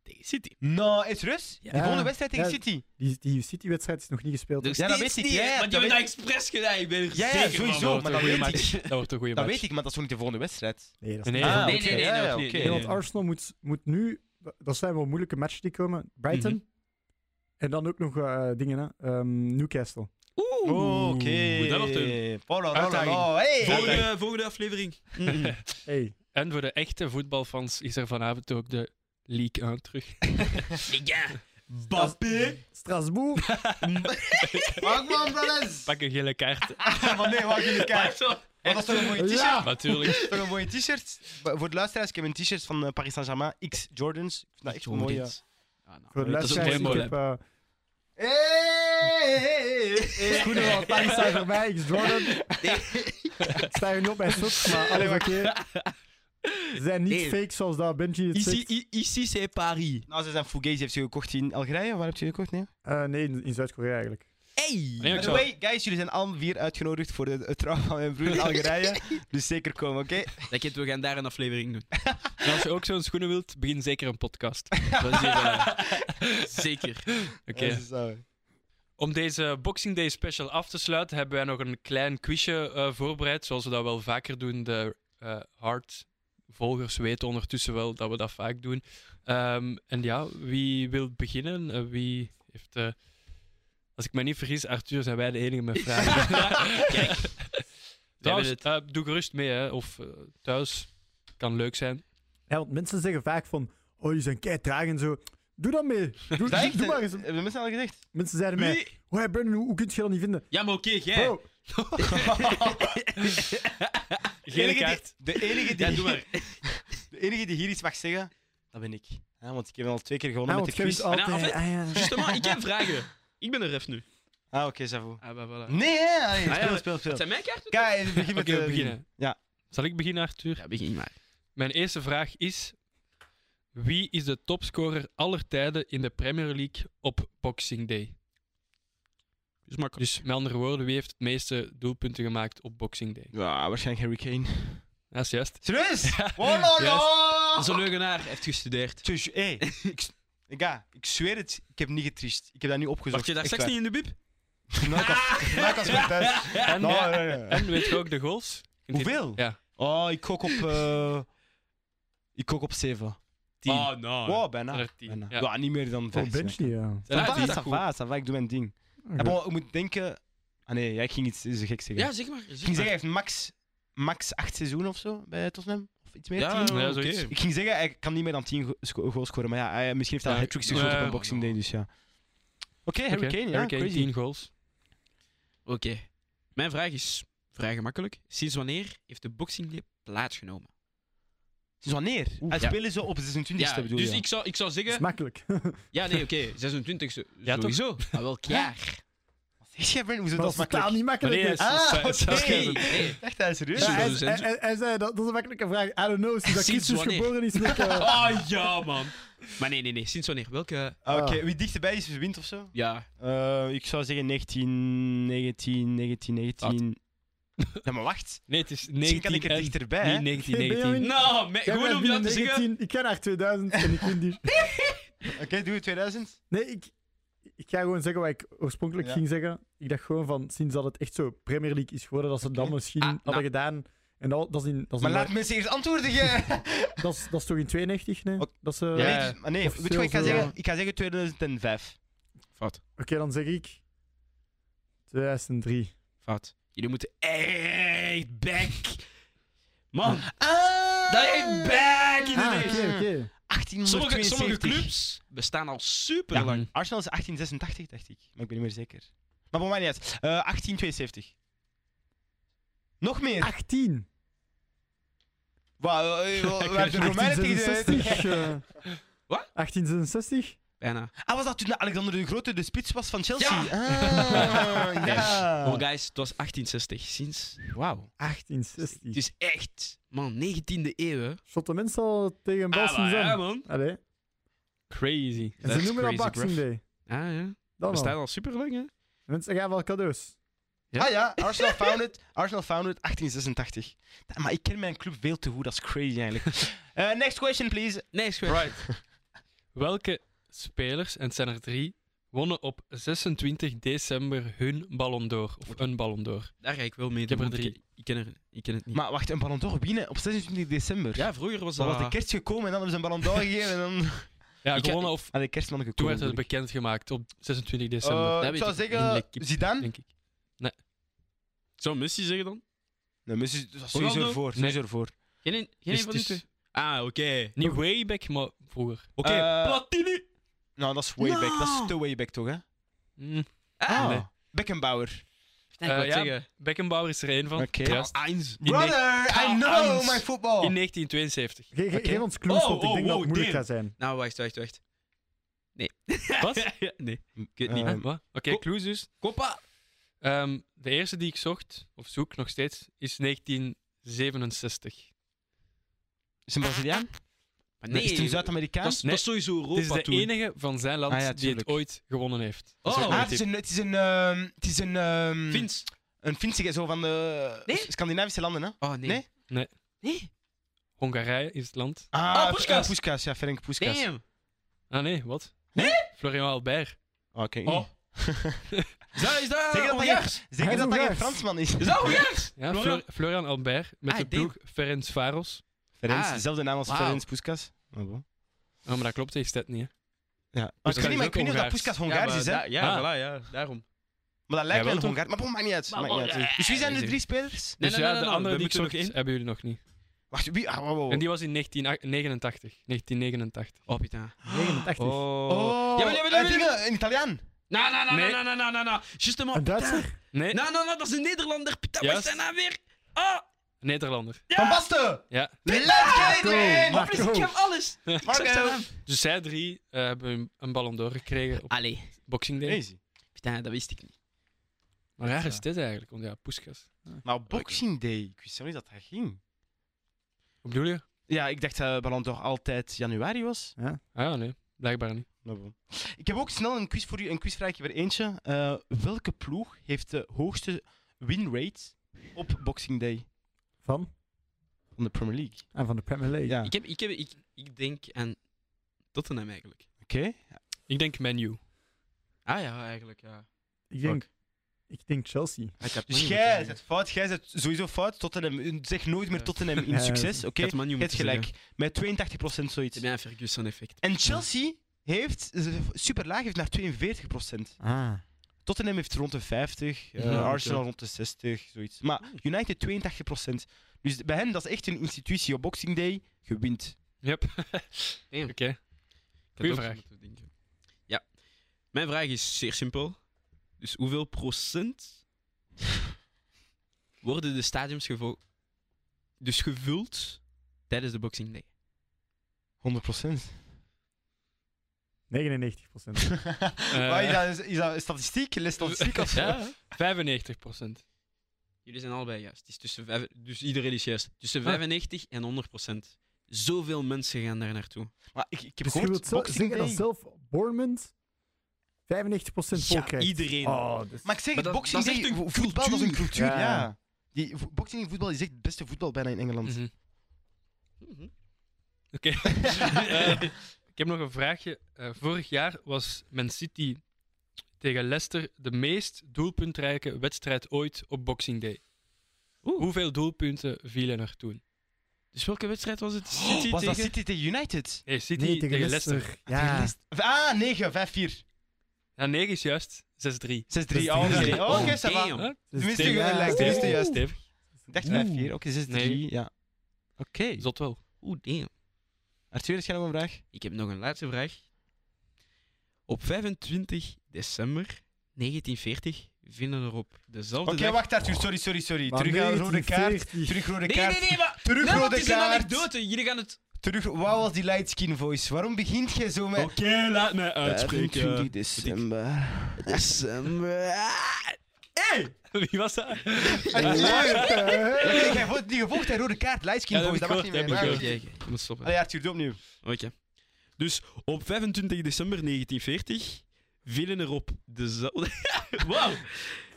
E: Tegen City.
C: Nou, is Rus?
E: Ja.
C: Die volgende wedstrijd tegen
D: Ja.
C: City.
D: Die, die City-wedstrijd is nog niet gespeeld. hè.
E: Nog
C: Ja, dat
E: steeds
C: weet ik,
E: niet,
C: ja,
E: hè,
C: ja,
E: maar die
C: dat
E: hebben dat
C: weet
E: expres gedaan. Ik ben er
C: Ja, ja,
E: zeker van.
C: sowieso,
A: dat
C: maar
A: wordt een
C: dat
A: goeie
C: weet
A: match. Dat wordt een goede
C: Dat
A: match.
C: weet ik, maar dat is nog niet de volgende wedstrijd.
D: Nee, dat is
A: Nee,
D: niet.
A: Ah,
D: Nee,
E: nee, nee, nee,
C: Ja,
E: nee,
C: ja,
E: nee,
C: oké.
E: nee,
D: want
E: nee.
D: Arsenal moet, moet nu... Dat zijn wel moeilijke matchen die komen. Brighton.
E: Mhm.
D: En dan ook nog eh, dingen, hè. Ehm, Newcastle.
E: Oeh.
C: Oké.
E: dat wordt
C: Polo,
A: Uitdaging.
C: Rolo, hey.
E: Volgende, volgende aflevering. Mhm.
D: Hey,
A: En voor de echte voetbalfans is er vanavond ook de League aan terug.
E: Ja. Mbappé.
D: Strasbourg.
C: Wachtman, brothers.
A: Pak een gele kaart.
C: Van nee, wacht jullie kijken.
E: Zo.
C: Maar dat is toch een mooie t-shirt?
D: Ja!
A: Natuurlijk.
C: Toch een mooie t-shirt? Ba- Voor de luisteraars, ik heb een t-shirt van eh, Paris Saint-Germain, X Jordans. Ik vind dat echt een mooie.
E: Ah, nou,
D: Voor de
E: dat is ook
D: luisteraars, ik
E: mooi,
D: heb... eh,
C: Hey, hey, hey.
D: Schoenen eh, van Tang staan voorbij, X Jordan. Sta je nog bij Soets, maar alles oké. Ze zijn niet
E: Nee.
D: fake zoals dat Benji het
E: Ici,
D: zegt.
E: i- ici c'est Paris.
C: Nou, ze zijn Fugazi, heeft ze gekocht in Algerije. Waar heb je gekocht, nee?
D: Eh, nee, in, in Zuid-Korea eigenlijk.
A: Nee,
E: Hey.
A: ik
C: By the
A: zou-
C: way, guys, jullie zijn al vier uitgenodigd voor de- het trouw van mijn broer in Algerije. dus zeker komen, oké?
E: Dat je, we gaan daar een aflevering doen.
A: En als je ook zo'n schoenen wilt, begin zeker een podcast.
E: Dat is hier, eh, zeker.
A: Oké. Om deze Boxing Day special af te sluiten, hebben wij nog een klein quizje eh, voorbereid. Zoals we dat wel vaker doen. De eh hard-volgers weten ondertussen wel dat we dat vaak doen. Ehm, en ja, wie wil beginnen? Eh, wie heeft. eh, als ik me niet vergis, Arthur, zijn wij de enige met vragen.
E: Kijk.
A: Trouwens,
E: het.
A: eh, doe gerust mee, hè? Of eh, thuis. Kan leuk zijn.
D: Ja, want mensen zeggen vaak van, oh, je zijn kei traag en zo. Doe dat mee. Doe,
C: Dat echt,
D: doe maar eens.
C: Hebben mensen al gezegd?
D: Mensen zeiden mij,
E: Wie?
D: oh, hey, Brandon, hoe, hoe kun je dat niet vinden?
E: Ja, maar oké, jij.
D: Bro,
A: Gele
C: Enige die-
A: kaart.
C: de, enige die,
E: Ja, doe maar.
C: de enige die hier iets mag zeggen, dat ben ik. Ja, want ik heb al twee keer gewonnen
D: ah,
C: met
D: want
C: de
D: jij
C: quiz.
D: wist
E: Maar
D: altijd...
E: nou,
D: ah, ja.
E: Justement, ik heb vragen. Ik ben een ref nu.
C: Ah, oké, Savo.
E: Ah, bah, voilà.
C: Nee, hè? Allee,
E: Ah, ja,
C: speel,
E: maar-
C: speel, speel.
E: Het zijn mijn kaarten?
C: Kijk, begin met
A: Oké,
C: eh,
A: we beginnen.
C: Ja.
A: Zal ik beginnen, Arthur?
E: Ja, begin maar.
A: Mijn eerste vraag is: wie is de topscorer aller tijden in de Premier League op Boxing Day?
E: Dus makkelijk.
A: Dus met andere woorden, wie heeft het meeste doelpunten gemaakt op Boxing Day?
C: Ja, waarschijnlijk Harry Kane.
A: Dat is juist.
C: Serieus? Oh, no,
E: Dat is een
C: no!
E: leugenaar. Hij heeft gestudeerd.
C: Dus, hé, ik, ja, ik zweer het, ik heb niet getriest. Ik heb dat niet opgezocht.
E: Wacht je daar
C: Echt
E: straks Ah! niet in de bib?
C: waar. Nou, dat is- nou, dat is goed, thuis.
A: En,
C: Nou, ja, ja, ja.
A: en weet je ook de goals? Kunt je-
C: Hoeveel?
A: Ja.
C: Oh, ik gok op. eh, ik gok op 7. Tien.
E: Oh, no.
C: Wow, bijna.
A: Er tien,
C: bijna.
A: ja.
C: Ja. niet meer dan
D: Oh,
C: 5.
D: Benji, ja.
A: Zijn er
E: Ah,
A: tien?
E: dat is goed.
C: va, ça va, ik doe mijn ding. Ja, maar ik moet denken. Ah nee, ja, ik ging iets zo gek zeggen.
E: Ja, zeg maar.
C: ik ging zeggen, hij heeft max, max 8 seizoenen of zo bij Tottenham. Of iets meer.
E: Ja,
C: 10.
A: Ja,
E: oké.
A: zoiets.
C: Ik ging zeggen, hij kan niet meer dan 10 go- sco- goals scoren. Maar ja, hij, misschien heeft hij
A: Ja,
C: hat tricks
A: ja,
C: geschoten
A: ja.
C: op een Boxing Day, dus ja. Oké,
A: Oké,
C: Harry Kane, ja,
A: Harry Kane,
C: crazy.
A: 10 goals.
E: Oké. Mijn vraag is vrij gemakkelijk. Sinds wanneer heeft de Boxing Day plaatsgenomen?
C: Dus wanneer? Hij
E: Ja.
C: spelen zo op 26e, bedoel
E: dus
C: je?
E: ik zou, ik zou
D: Dat is
E: zeggen...
D: makkelijk.
E: Ja, Ah, nee, oké. 26e.
A: Ja,
E: sowieso. Maar welk jaar?
C: Dat is Is jij Brandon? Hoezo,
D: Maar
C: dat is makkelijk.
D: totaal niet
A: Maar
D: makkelijk.
A: nee, hij is-
D: Ja,
C: Ah,
A: hij is- hij is-
E: Hey,
A: hij is-
E: hey.
C: Echt, hij is serieus?
E: Ja.
D: hij,
E: Zullen we
D: hij-
E: eens-
D: hij- hij zei, dat, dat is een makkelijke vraag. I don't know, sinds dat
E: Sinds
D: Christus
E: wanneer?
D: geboren is. Met, eh,
E: Ah ja, man. Maar nee, nee, nee. Sinds wanneer? Welke?
C: Ah, Oké,
D: Ah. Eh,
C: wie dichterbij is, wint of zo?
E: Ja.
C: ik zou zeggen 19, 19, 19, 19. Ja, maar wacht.
A: Nee, het is
C: Misschien
A: 19
C: kan ik er
A: en-
C: dichterbij, hè?
A: Niet 19,
D: Geen
A: 19.
D: Benjamin.
E: Nou, me-
D: jij
E: gewoon
D: bent
E: om jou te zeggen.
D: 19, Ik ga naar 2000 en ik win die.
C: Oké, doe het 2000.
D: Nee, ik, ik ga gewoon zeggen wat ik oorspronkelijk
C: Ja.
D: ging zeggen. Ik dacht gewoon van, sinds dat het echt zo Premier League is geworden, dat ze dan
C: Oké.
D: misschien
E: Ah,
D: hadden
E: nou.
D: gedaan. En dat, dat, is in, dat, is
C: Maar
D: in-
C: laat mensen eerst antwoorden, jij.
D: dat, is, dat is toch in 92, nee?
C: Oké.
D: Dat is, eh,
C: Ja,
D: Oké,
C: nee, dus- maar nee,
D: Of
C: weet je wat ik ga
D: zilver,
C: zeggen?
D: ja.
C: Ik ga zeggen 2005.
E: Fout,
D: dan zeg ik 2003.
E: fout. Jullie moeten echt back. Man,
C: Ah!
E: dat is back in de
D: Ah, oké,
E: race.
D: oké.
E: Sommige,
C: 1872.
E: sommige clubs bestaan al super
A: Ja.
E: lang.
C: Arsenal is 1886, dacht ik. Maar ik ben niet meer zeker. Maar voor mij niet uit. Eh, 1872. Nog meer.
D: 18.
C: Wauw, eh, wa- waar de Romeinen tegen de...
D: 1866. eh,
E: Wat?
D: 1866?
E: Bijna.
C: Ah, was dat toen Alexander de Grote de spits was van Chelsea?
E: Ja.
C: Ah, ja.
E: Oh, guys, het was 1860. Sinds. Wauw. Het
D: 1860.
E: is echt, man, 19e eeuw. hè.
D: Shot de mensen al tegen een
E: Ah,
D: Belsen
E: maar, ja,
D: zijn.
E: man.
D: Allee.
A: Crazy.
D: En ze
E: That's
D: noemen dat
E: crazy,
D: Boxing
E: bruv.
D: Day.
E: Ah, ja.
D: Dan
E: Bestaan
D: al.
E: al super lang, hè?
D: Mensen gaan wel cadeaus.
E: Ja.
C: Ah ja, Arsenal founded, Arsenal founded 1886. Da- Maar ik ken mijn club veel te goed, dat is crazy eigenlijk. Eh, next question, please.
E: Nee, is goed.
C: Right.
A: Welke spelers, en het zijn er drie, wonnen op 26 december hun Ballon d'Or? Of een Ballon d'Or?
E: Daar ga ik wel mee.
A: Ik heb
E: doen,
A: er
E: want
A: drie.
E: Ik, ik ken er, ik ken het niet.
C: Maar wacht, een Ballon d'Or winnen op 26 december.
E: ja, vroeger was
C: Dan
E: dat.
C: was de
A: Ah.
C: kerst gekomen en dan hebben ze een Ballon d'Or gegeven en dan...
A: Ja,
E: Ik-
A: gewonnen of...
C: Aan de kerstman gekomen.
A: Toen werd het
C: natuurlijk.
A: bekendgemaakt op 26 december,
C: Eh,
E: Dat
C: ik
E: weet
C: zou
E: ik. Vriendelijk
C: zeggen,
E: kip.
C: Zidane?
A: denk ik.
E: Zou Messi zeggen dan?
C: Nee, Messi dat is sowieso
E: Ronaldo?
C: ervoor.
A: Nee.
C: Sowieso ervoor.
E: Geen, een- geen
A: Dus
E: een van
A: het
E: die
A: is
E: twee. Ah, oké.
A: Niet way back, maar vroeger.
E: Oké,
C: Eh,
E: Platini.
C: Nou, dat is way back. Dat is
E: No.
C: te way back toch, hè?
A: Mm.
E: Ah,
A: nee.
C: Beckenbauer.
A: Eh,
E: Ik wou
A: ja.
E: zeggen.
A: Beckenbauer is er één van.
C: Oké.
A: Juist.
E: Eins.
A: In ne-
C: Brother, I
A: Karl
C: know
A: Hans.
C: my football.
A: in 1972.
D: Ge- ge-
E: Oké.
D: Geef ons clues,
E: Oh,
D: want ik
E: oh,
D: denk dat
E: wow,
D: het moeilijk
E: damn.
D: gaat zijn.
E: Nou, wacht, wacht, wacht. Nee.
A: Wat?
E: nee, ik weet het niet.
C: Eh,
A: Huh? Wat? Oké,
E: Ko-
A: clues dus.
E: Koppa.
A: Ehm, de eerste die ik zocht, of zoek nog steeds, is 1967.
C: Is een Braziliaan?
E: Maar nee,
C: Is het een
E: dat
C: Zuid-Amerikaan?
E: is, dat is sowieso
A: Het
E: Europa
A: is de
E: toen.
A: enige van zijn land
C: Ah ja,
A: die het
C: tuurlijk.
A: ooit gewonnen heeft. Dat is
E: Oh.
A: ook
C: Ah,
A: mijn
C: het is
A: tip.
C: een... Het is een... ehm, Het is een... ehm,
E: Vins.
C: Een Finse, zo van de
E: Nee?
C: Scandinavische landen, hè?
E: Oh, nee.
C: Nee?
A: Nee.
E: Nee?
A: Hongarije is het land.
E: Ah,
C: eh,
E: Puskas.
C: eh, Puskas, ja, Ferenc Puskas.
E: Damn.
A: Ah nee, wat? Florian Albert.
C: Oh, oké.
E: Oh. Is dat, is dat
C: Zeg dat dat
E: Hongaars?
C: Zeker dat
D: Hij is
C: dat geen
D: Hongaars.
C: Fransman is.
E: Is dat Hongaars?
A: Ja,
E: Florian?
A: Flor- Florian Albert met
E: Ah,
A: de
E: ik denk-
A: ploeg Ferenc Varos.
C: Ferenc,
E: Ah.
C: dezelfde naam als
E: Wauw.
C: Ferenc Puskas. Maar bon.
A: Oh, maar dat klopt tegen Stet niet, hè.
C: Ja. Maar ik
A: is
C: weet niet, maar ik
A: ook
C: weet niet of dat
A: Hongaars.
C: Puskas Hongaars
E: ja,
C: is, hè?
E: maar da- Ja,
A: Ah.
E: voilà, ja, daarom.
C: Maar dat
A: Jawel,
C: lijkt wel een
A: toch?
C: Hongaar. Maar bon, maakt niet uit.
E: Maar
C: maakt niet
E: bon,
C: uit.
E: ja,
C: Dus wie zijn de
E: ja,
C: drie spelers?
E: Nee,
A: dus
E: nee,
A: ja,
E: nee,
A: de
E: nee,
A: andere
E: we
A: die ik
E: moeten
A: zocht
E: nog Oh. één.
A: hebben jullie nog niet.
C: Wacht, wie? Ah, wow, wow, wow.
A: En die was in 1989. 1989.
E: Oh, Pita.
D: 89.
C: Oh,
E: Ja, maar- ja, maar- ja, maar-
C: eh, dingen in Italiaan.
E: Na, na, na,
A: Nee.
E: na, na, na, na, na. Juste maar.
D: Een Duitser?
A: Nee,
E: Na, na, na, dat is een Nederlander. Pita, wat is
A: Juist.
E: zijn naam weer? Ah,
A: Nederlander.
E: ja.
C: Van Basten!
A: Ja.
C: Let's get it in!
D: Marco.
E: Plus, ik heb alles. Ik zag zijn
C: Marco.
E: naam.
A: Dus zij drie eh, hebben een ballon d'Or gekregen op
E: Allee.
A: Boxing Day.
C: Crazy.
E: Pita, dat wist ik niet.
A: Maar raar is dit eigenlijk, want ja, Puskas.
C: Maar Boxing Day, ik wist helemaal niet dat dat ging.
A: Wat bedoel je?
C: Ja, ik dacht dat Ballon d'Or altijd januari was.
A: Ah ja, nee, blijkbaar niet.
C: Maar bon. Ik heb ook snel een quiz voor u, een quizvraagje weer eentje. Eh, welke ploeg heeft de hoogste winrate op Boxing Day
D: Van?
C: van de Premier League?
D: En Ah, van de Premier League.
C: Ja,
E: Ik, heb, ik, heb, ik, ik denk aan Tottenham eigenlijk.
C: oké.
A: Ik denk menu.
E: Ah ja, eigenlijk, ja.
D: Ik, denk, ik denk Chelsea.
E: Ik had
C: Dus
E: Manu
C: jij
E: moeten
C: zit fout, jij zit sowieso fout. Tottenham, zeg nooit meer
E: Ja.
C: Tottenham in
D: Ja,
C: succes,
D: ja.
E: Ik
C: oké?
E: had Manu
C: Je hebt
E: moeten
C: gelijk.
E: zeggen.
C: Met 82%
E: Het is
C: zoiets.
E: bijna een Ferguson-effect.
C: En Chelsea heeft, super laag, heeft naar 42%.
D: Ah.
C: Tottenham heeft rond de 50, eh,
A: Ja, oké.
C: Arsenal rond de 60, zoiets. Maar United 82%. Dus bij hen, dat is echt een institutie. Op Boxing Day, je wint.
A: Yep.
E: Damn.
A: Oké.
E: Ik had
A: Goeie
E: ook
A: vraag.
E: zo moeten denken. Ja. Mijn vraag is zeer simpel. Dus hoeveel procent worden de stadiums gevo- dus gevuld tijdens de Boxing Day?
C: 100%.
D: 99
C: Maar is,
A: Eh,
C: dat, is dat statistiek? Is dat statistiek of zo?
E: Ja.
A: 95 procent.
E: Jullie zijn allebei juist. Het is tussen vijf- dus iedereen is juist. Tussen
A: Ah.
E: 95 en 100 procent. Zoveel mensen gaan daar naartoe.
C: Maar ik, ik heb
D: Dus je
C: gehoord,
D: wilt zo-
C: Boxing
D: zeggen dat
C: Day-
D: zelf Bournemouth 95 voor
E: Ja,
D: krijgt?
E: iedereen.
D: Oh, dat is-
C: Maar ik zeg, het,
E: Maar dat-
C: Boxing
E: dat is
C: Day,
E: echt een
C: vo- voetbal dat is een
E: cultuur.
C: cultuur. Ja.
D: Ja.
C: Die, vo- boxing en voetbal is echt het beste voetbal bijna in Engeland.
A: Mhm.
E: Mhm.
A: Oké. Eh, ik heb nog een vraagje. Eh, vorig jaar was Man City tegen Leicester de meest doelpuntrijke wedstrijd ooit op Boxing Day. Hoeveel doelpunten vielen er toen?
E: Dus welke wedstrijd was het? City
C: Was dat
E: tegen...
C: City tegen United?
A: Nee, City
D: nee,
A: tegen, Leicester.
D: Ja.
C: Tegen Leicester. Ah, 9, 5, 4.
A: Ja, 9 is juist. 6-3.
C: 6, 3.
D: Dat
C: Oh,
D: is drie.
C: nee. Oh,
E: Oh,
C: oké, ça va.
E: damn.
A: Huh?
D: Dus
C: Tenminste,
D: tegen-
C: gelijk.
D: Oeh.
C: Tenminste,
A: Stevig,
C: juist.
A: stevig.
C: Ik dacht
D: Oeh.
C: 5, 4. Oké, 6, 3.
A: Nee.
C: Ja. Oké.
A: Zot wel.
E: Oeh, damn.
C: Arthur, is jij nog een vraag?
E: Ik heb nog een laatste vraag. Op 25 december 1940 vinden er op dezelfde
C: Oké,
E: dag...
C: wacht Arthur, sorry, sorry, sorry.
D: Maar
C: Terug aan rode kaart.
D: 1940.
C: Terug rode
E: Nee, nee,
C: kaart.
E: nee, maar...
C: Terug
E: Nee, want
C: rode
E: het is een
C: kaart.
E: anekdote. Jullie gaan het...
C: Terug, wat was die lightskin voice? Waarom begint jij zo met...
E: laat mij
A: eh,
C: 25 december.
E: December.
A: Wie was dat?
C: Arthur! Jij hebt niet gevolgd, hè? Rode kaart, lightskin
A: Ja, dat
C: voice,
A: heb
C: dat
A: ik
C: mag niet
A: gehoord, dat
C: meer.
A: heb ik
C: Maar
A: gehoord.
C: oké.
E: Ik moet stoppen.
C: Allee, Arthur, doe opnieuw.
E: Oké. Dus op 25 december 1940 vielen er op dezelfde... wow.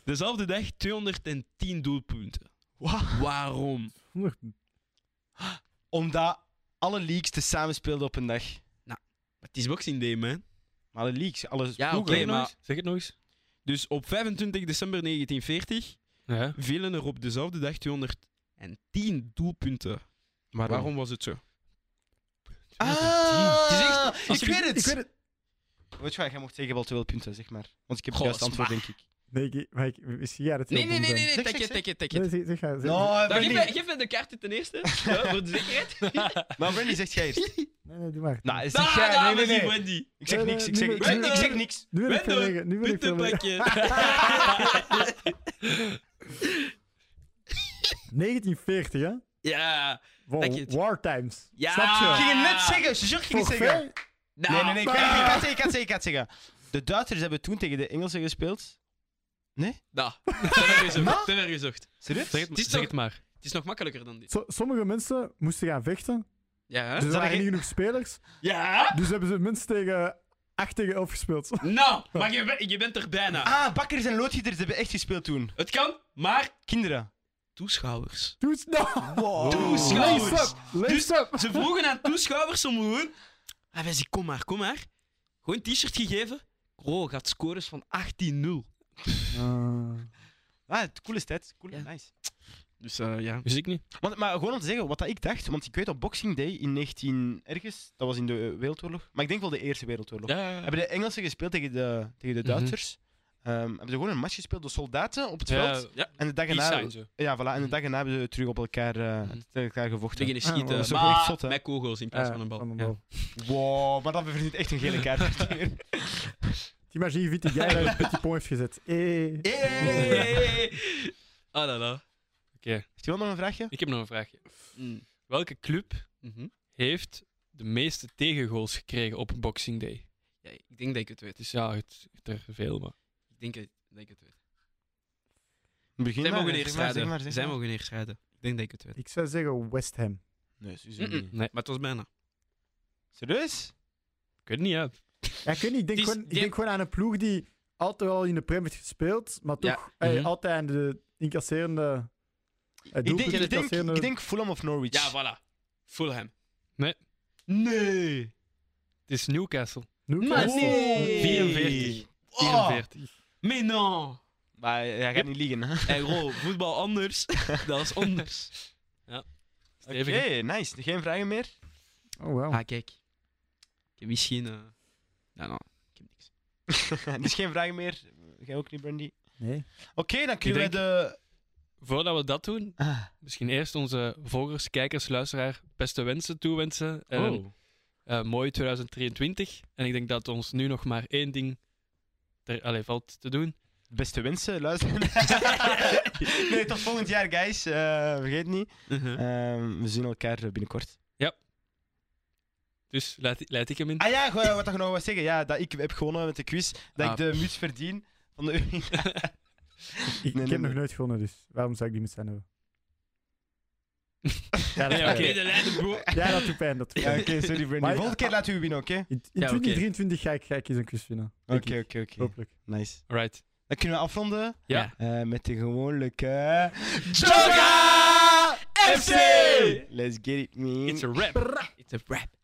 E: Dezelfde dag 210 doelpunten. Waarom?
C: Omdat alle leaks te samen speelden op een dag.
E: Het is Boxing Day, man.
C: Maar alle leaks, alles
E: Ja,
C: ploegen.
A: Zeg het
E: oké,
A: nog
E: maar-
A: eens. Zeg het nog eens.
E: Dus op 25 december 1940
A: Ja.
E: vielen er op dezelfde dag 210 doelpunten. Waarom, was het zo?
C: Ah,
E: Het is echt-
C: ik,
E: als jullie-
C: weet het.
D: Ik weet het.
C: Weet je wat, jij mocht zeggen wel te veel punten, zeg maar. Want ik heb
E: Goh,
C: het juiste antwoord, denk ik.
D: Nee, ik, maar ik, misschien ja, dat
E: Nee, nee, nee, nee, nee.
C: Zeg,
E: Take
C: zeg,
E: it, take it, take
D: nee.
E: it.
D: Zeg, zeg, zeg, Nou, zeg.
E: Dan geef, mij, geef mij de kaarten ten eerste, ja, voor de zekerheid.
C: Maar Brandy zegt jij eerst.
D: Nee, nee, doe maar.
C: Nou,
E: Da,
C: zeg jij,
E: da,
C: nee, nee,
E: Wendy,
C: nee.
E: Wendy.
C: Ik zeg niks, ik zeg, ik zeg, ik zeg niks.
D: nu wil ik
E: Wendel,
D: verleggen. Nu wil ik verleggen.
E: Puntenpakje.
D: 1940, hè?
E: ja. Dank je
D: Wow,
E: het.
D: war times.
E: Ja.
D: Snap
C: Ik
D: je?
C: ging het net zeggen, ze ging het
D: Voor
C: zeggen.
D: ver-
E: Nou,
C: Nee, nee, nee, ik
E: bah.
C: kan ik kan het zeggen, ik kan het zeggen, ik kan het zeggen. De Duitsers hebben toen tegen de Engelsen gespeeld.
E: Nou, te ver gezocht, te ver gezocht.
C: Serieus?
A: Zeg het,
E: Het is
A: zeg
E: toch-
A: het maar.
E: Het is nog makkelijker dan dit.
D: Zo- Sommige mensen moesten gaan vechten.
E: Ja, hè?
D: Dus er waren
C: geen-
D: niet genoeg spelers.
E: Ja?
D: Dus hebben ze minstens tegen 8 tegen 11 gespeeld.
E: Nou, maar je, ben- je bent er bijna.
C: Ah, bakkers en loodgieters hebben echt gespeeld toen.
E: Het kan, maar...
C: Kinderen.
E: Toeschouwers.
D: Doe het nou!
E: Toeschouwers.
D: Lees op! Lees
E: Dus-
D: op!
E: Ze vroegen aan toeschouwers om gewoon... Ah, wij zeggen, kom maar, kom maar. Gewoon een t-shirt gegeven. Bro, gaat scores van 18-0.
D: Ah.
C: Ah, het coole tijd. Cool,
E: Ja.
C: nice.
E: Dus eh, ja.
A: Wist ik niet.
C: Want, maar gewoon om te zeggen wat dat ik dacht, want ik weet op Boxing Day in 19 ergens, dat was in de eh, Wereldoorlog, maar ik denk wel de Eerste Wereldoorlog,
A: Ja,
C: hebben de Engelsen gespeeld tegen de, tegen de
A: Mhm.
C: Duitsers. Ehm, hebben ze gewoon een match gespeeld door soldaten op het veld.
E: Ja. nou.
C: En de dag
A: peace
C: erna,
A: sign zo.
C: ja, voilà, en de
A: Mhm.
C: dag erna hebben ze terug op elkaar, eh,
A: Mhm.
C: tegen elkaar gevochten.
E: Beginnen
D: Ah,
E: schieten,
D: dat
C: is ook echt
E: maar
C: zot, hè?
E: met kogels in plaats
D: Eh,
E: van een bal.
D: van een
A: Ja.
D: bal.
C: Wow, maar dat verdient echt een gele kaart.
D: Die magie vindt die jij daar op Petit Pont heeft gezet. Eh.
E: Hey. Ah, la, la.
C: Heeft iemand nog een vraagje?
A: Ik heb nog een vraagje.
E: Mm.
A: Welke club
E: Mhm.
A: heeft de meeste tegengoals gekregen op Boxing Day?
E: Ja, ik denk dat ik het weet.
A: Het is ja, het, het er veel, maar...
E: Ik denk dat dat ik het weet.
C: Begin
E: Zij
C: maar,
E: mogen
C: zeg
E: eerst
C: maar, zeg maar,
E: raden.
C: zeg
E: Zij
C: maar.
E: mogen eerst raden. Ik denk dat ik het weet.
D: Ik zou zeggen West Ham.
C: Nee, ze zijn
E: Mm-mm.
C: niet.
A: Nee,
E: Maar het was bijna.
C: Serieus?
A: ik weet het niet, hè.
D: Ja, ik weet niet, ik denk,
E: Die is-
D: gewoon, ik
E: die-
D: denk gewoon aan een ploeg die altijd wel in de Prem heeft gespeeld, maar toch
E: Ja.
D: eh,
A: Mhm.
D: altijd aan de incasserende... eh,
C: Ik denk,
D: doelpunten
C: ik, denk,
D: incasserende-
C: ik denk Fulham of Norwich.
E: Ja, Ah, voilà. Fulham.
A: Nee.
E: Nee.
A: Het is Newcastle.
E: Maar
C: Oh.
D: Newcastle.
E: nee.
A: 44.
E: Oh,
A: 44.
E: mais non.
C: Maar jij gaat niet liegen, hè?
E: Hey, bro, voetbal anders. dat is anders.
C: Oké, nice. Geen vragen meer?
D: Oh, wow.
E: Ah, kijk. Ik heb misschien... eh Nou, nou. Ik heb niks.
C: dus geen vragen meer. Jij ook niet, Brandy?
D: Nee.
C: Oké, dan kunnen we
A: denk-
C: de...
A: Voordat we dat doen,
C: Ah.
A: misschien eerst onze volgers, kijkers, luisteraar beste wensen toewensen.
E: Oh.
A: En een,
C: Oh.
A: eh, mooi 2023. En ik denk dat ons nu nog maar één ding ter, allee, valt te doen.
C: Beste wensen, luister. nee, tot volgend jaar, guys. Eh, vergeet niet.
E: Mhm.
C: Ehm, we zien elkaar binnenkort.
A: Dus leid, leid ik hem in.
C: Ah ja, gewoon wat ik nou wou zeggen. Ja, dat ik heb gewonnen met de quiz. Dat
A: Ah.
C: ik de muts verdien van de Unie.
D: Ik,
C: nee,
D: ik heb
C: nee.
D: nog nooit gewonnen, dus waarom zou ik die met zijn hebben? ja, dat
A: Nee,
D: doet
A: oké.
D: pijn.
E: de leider, bro.
D: ja, dat doet pijn. Dat doet
C: Ja,
D: pijn.
C: oké, sorry Brandy.
D: Maar-
C: Volgende keer laat u winnen, oké?
D: In, in
E: Ja, oké.
D: 2023 ga ik, ga ik eens een quiz winnen. denk
C: Oké,
D: ik.
C: oké, oké.
D: Hopelijk.
C: Nice.
A: Right.
C: Dan kunnen we afronden
A: Ja.
C: eh, met de gewone eh,
E: Joga
C: Let's get it, man.
A: It's a rap.
E: It's a rap.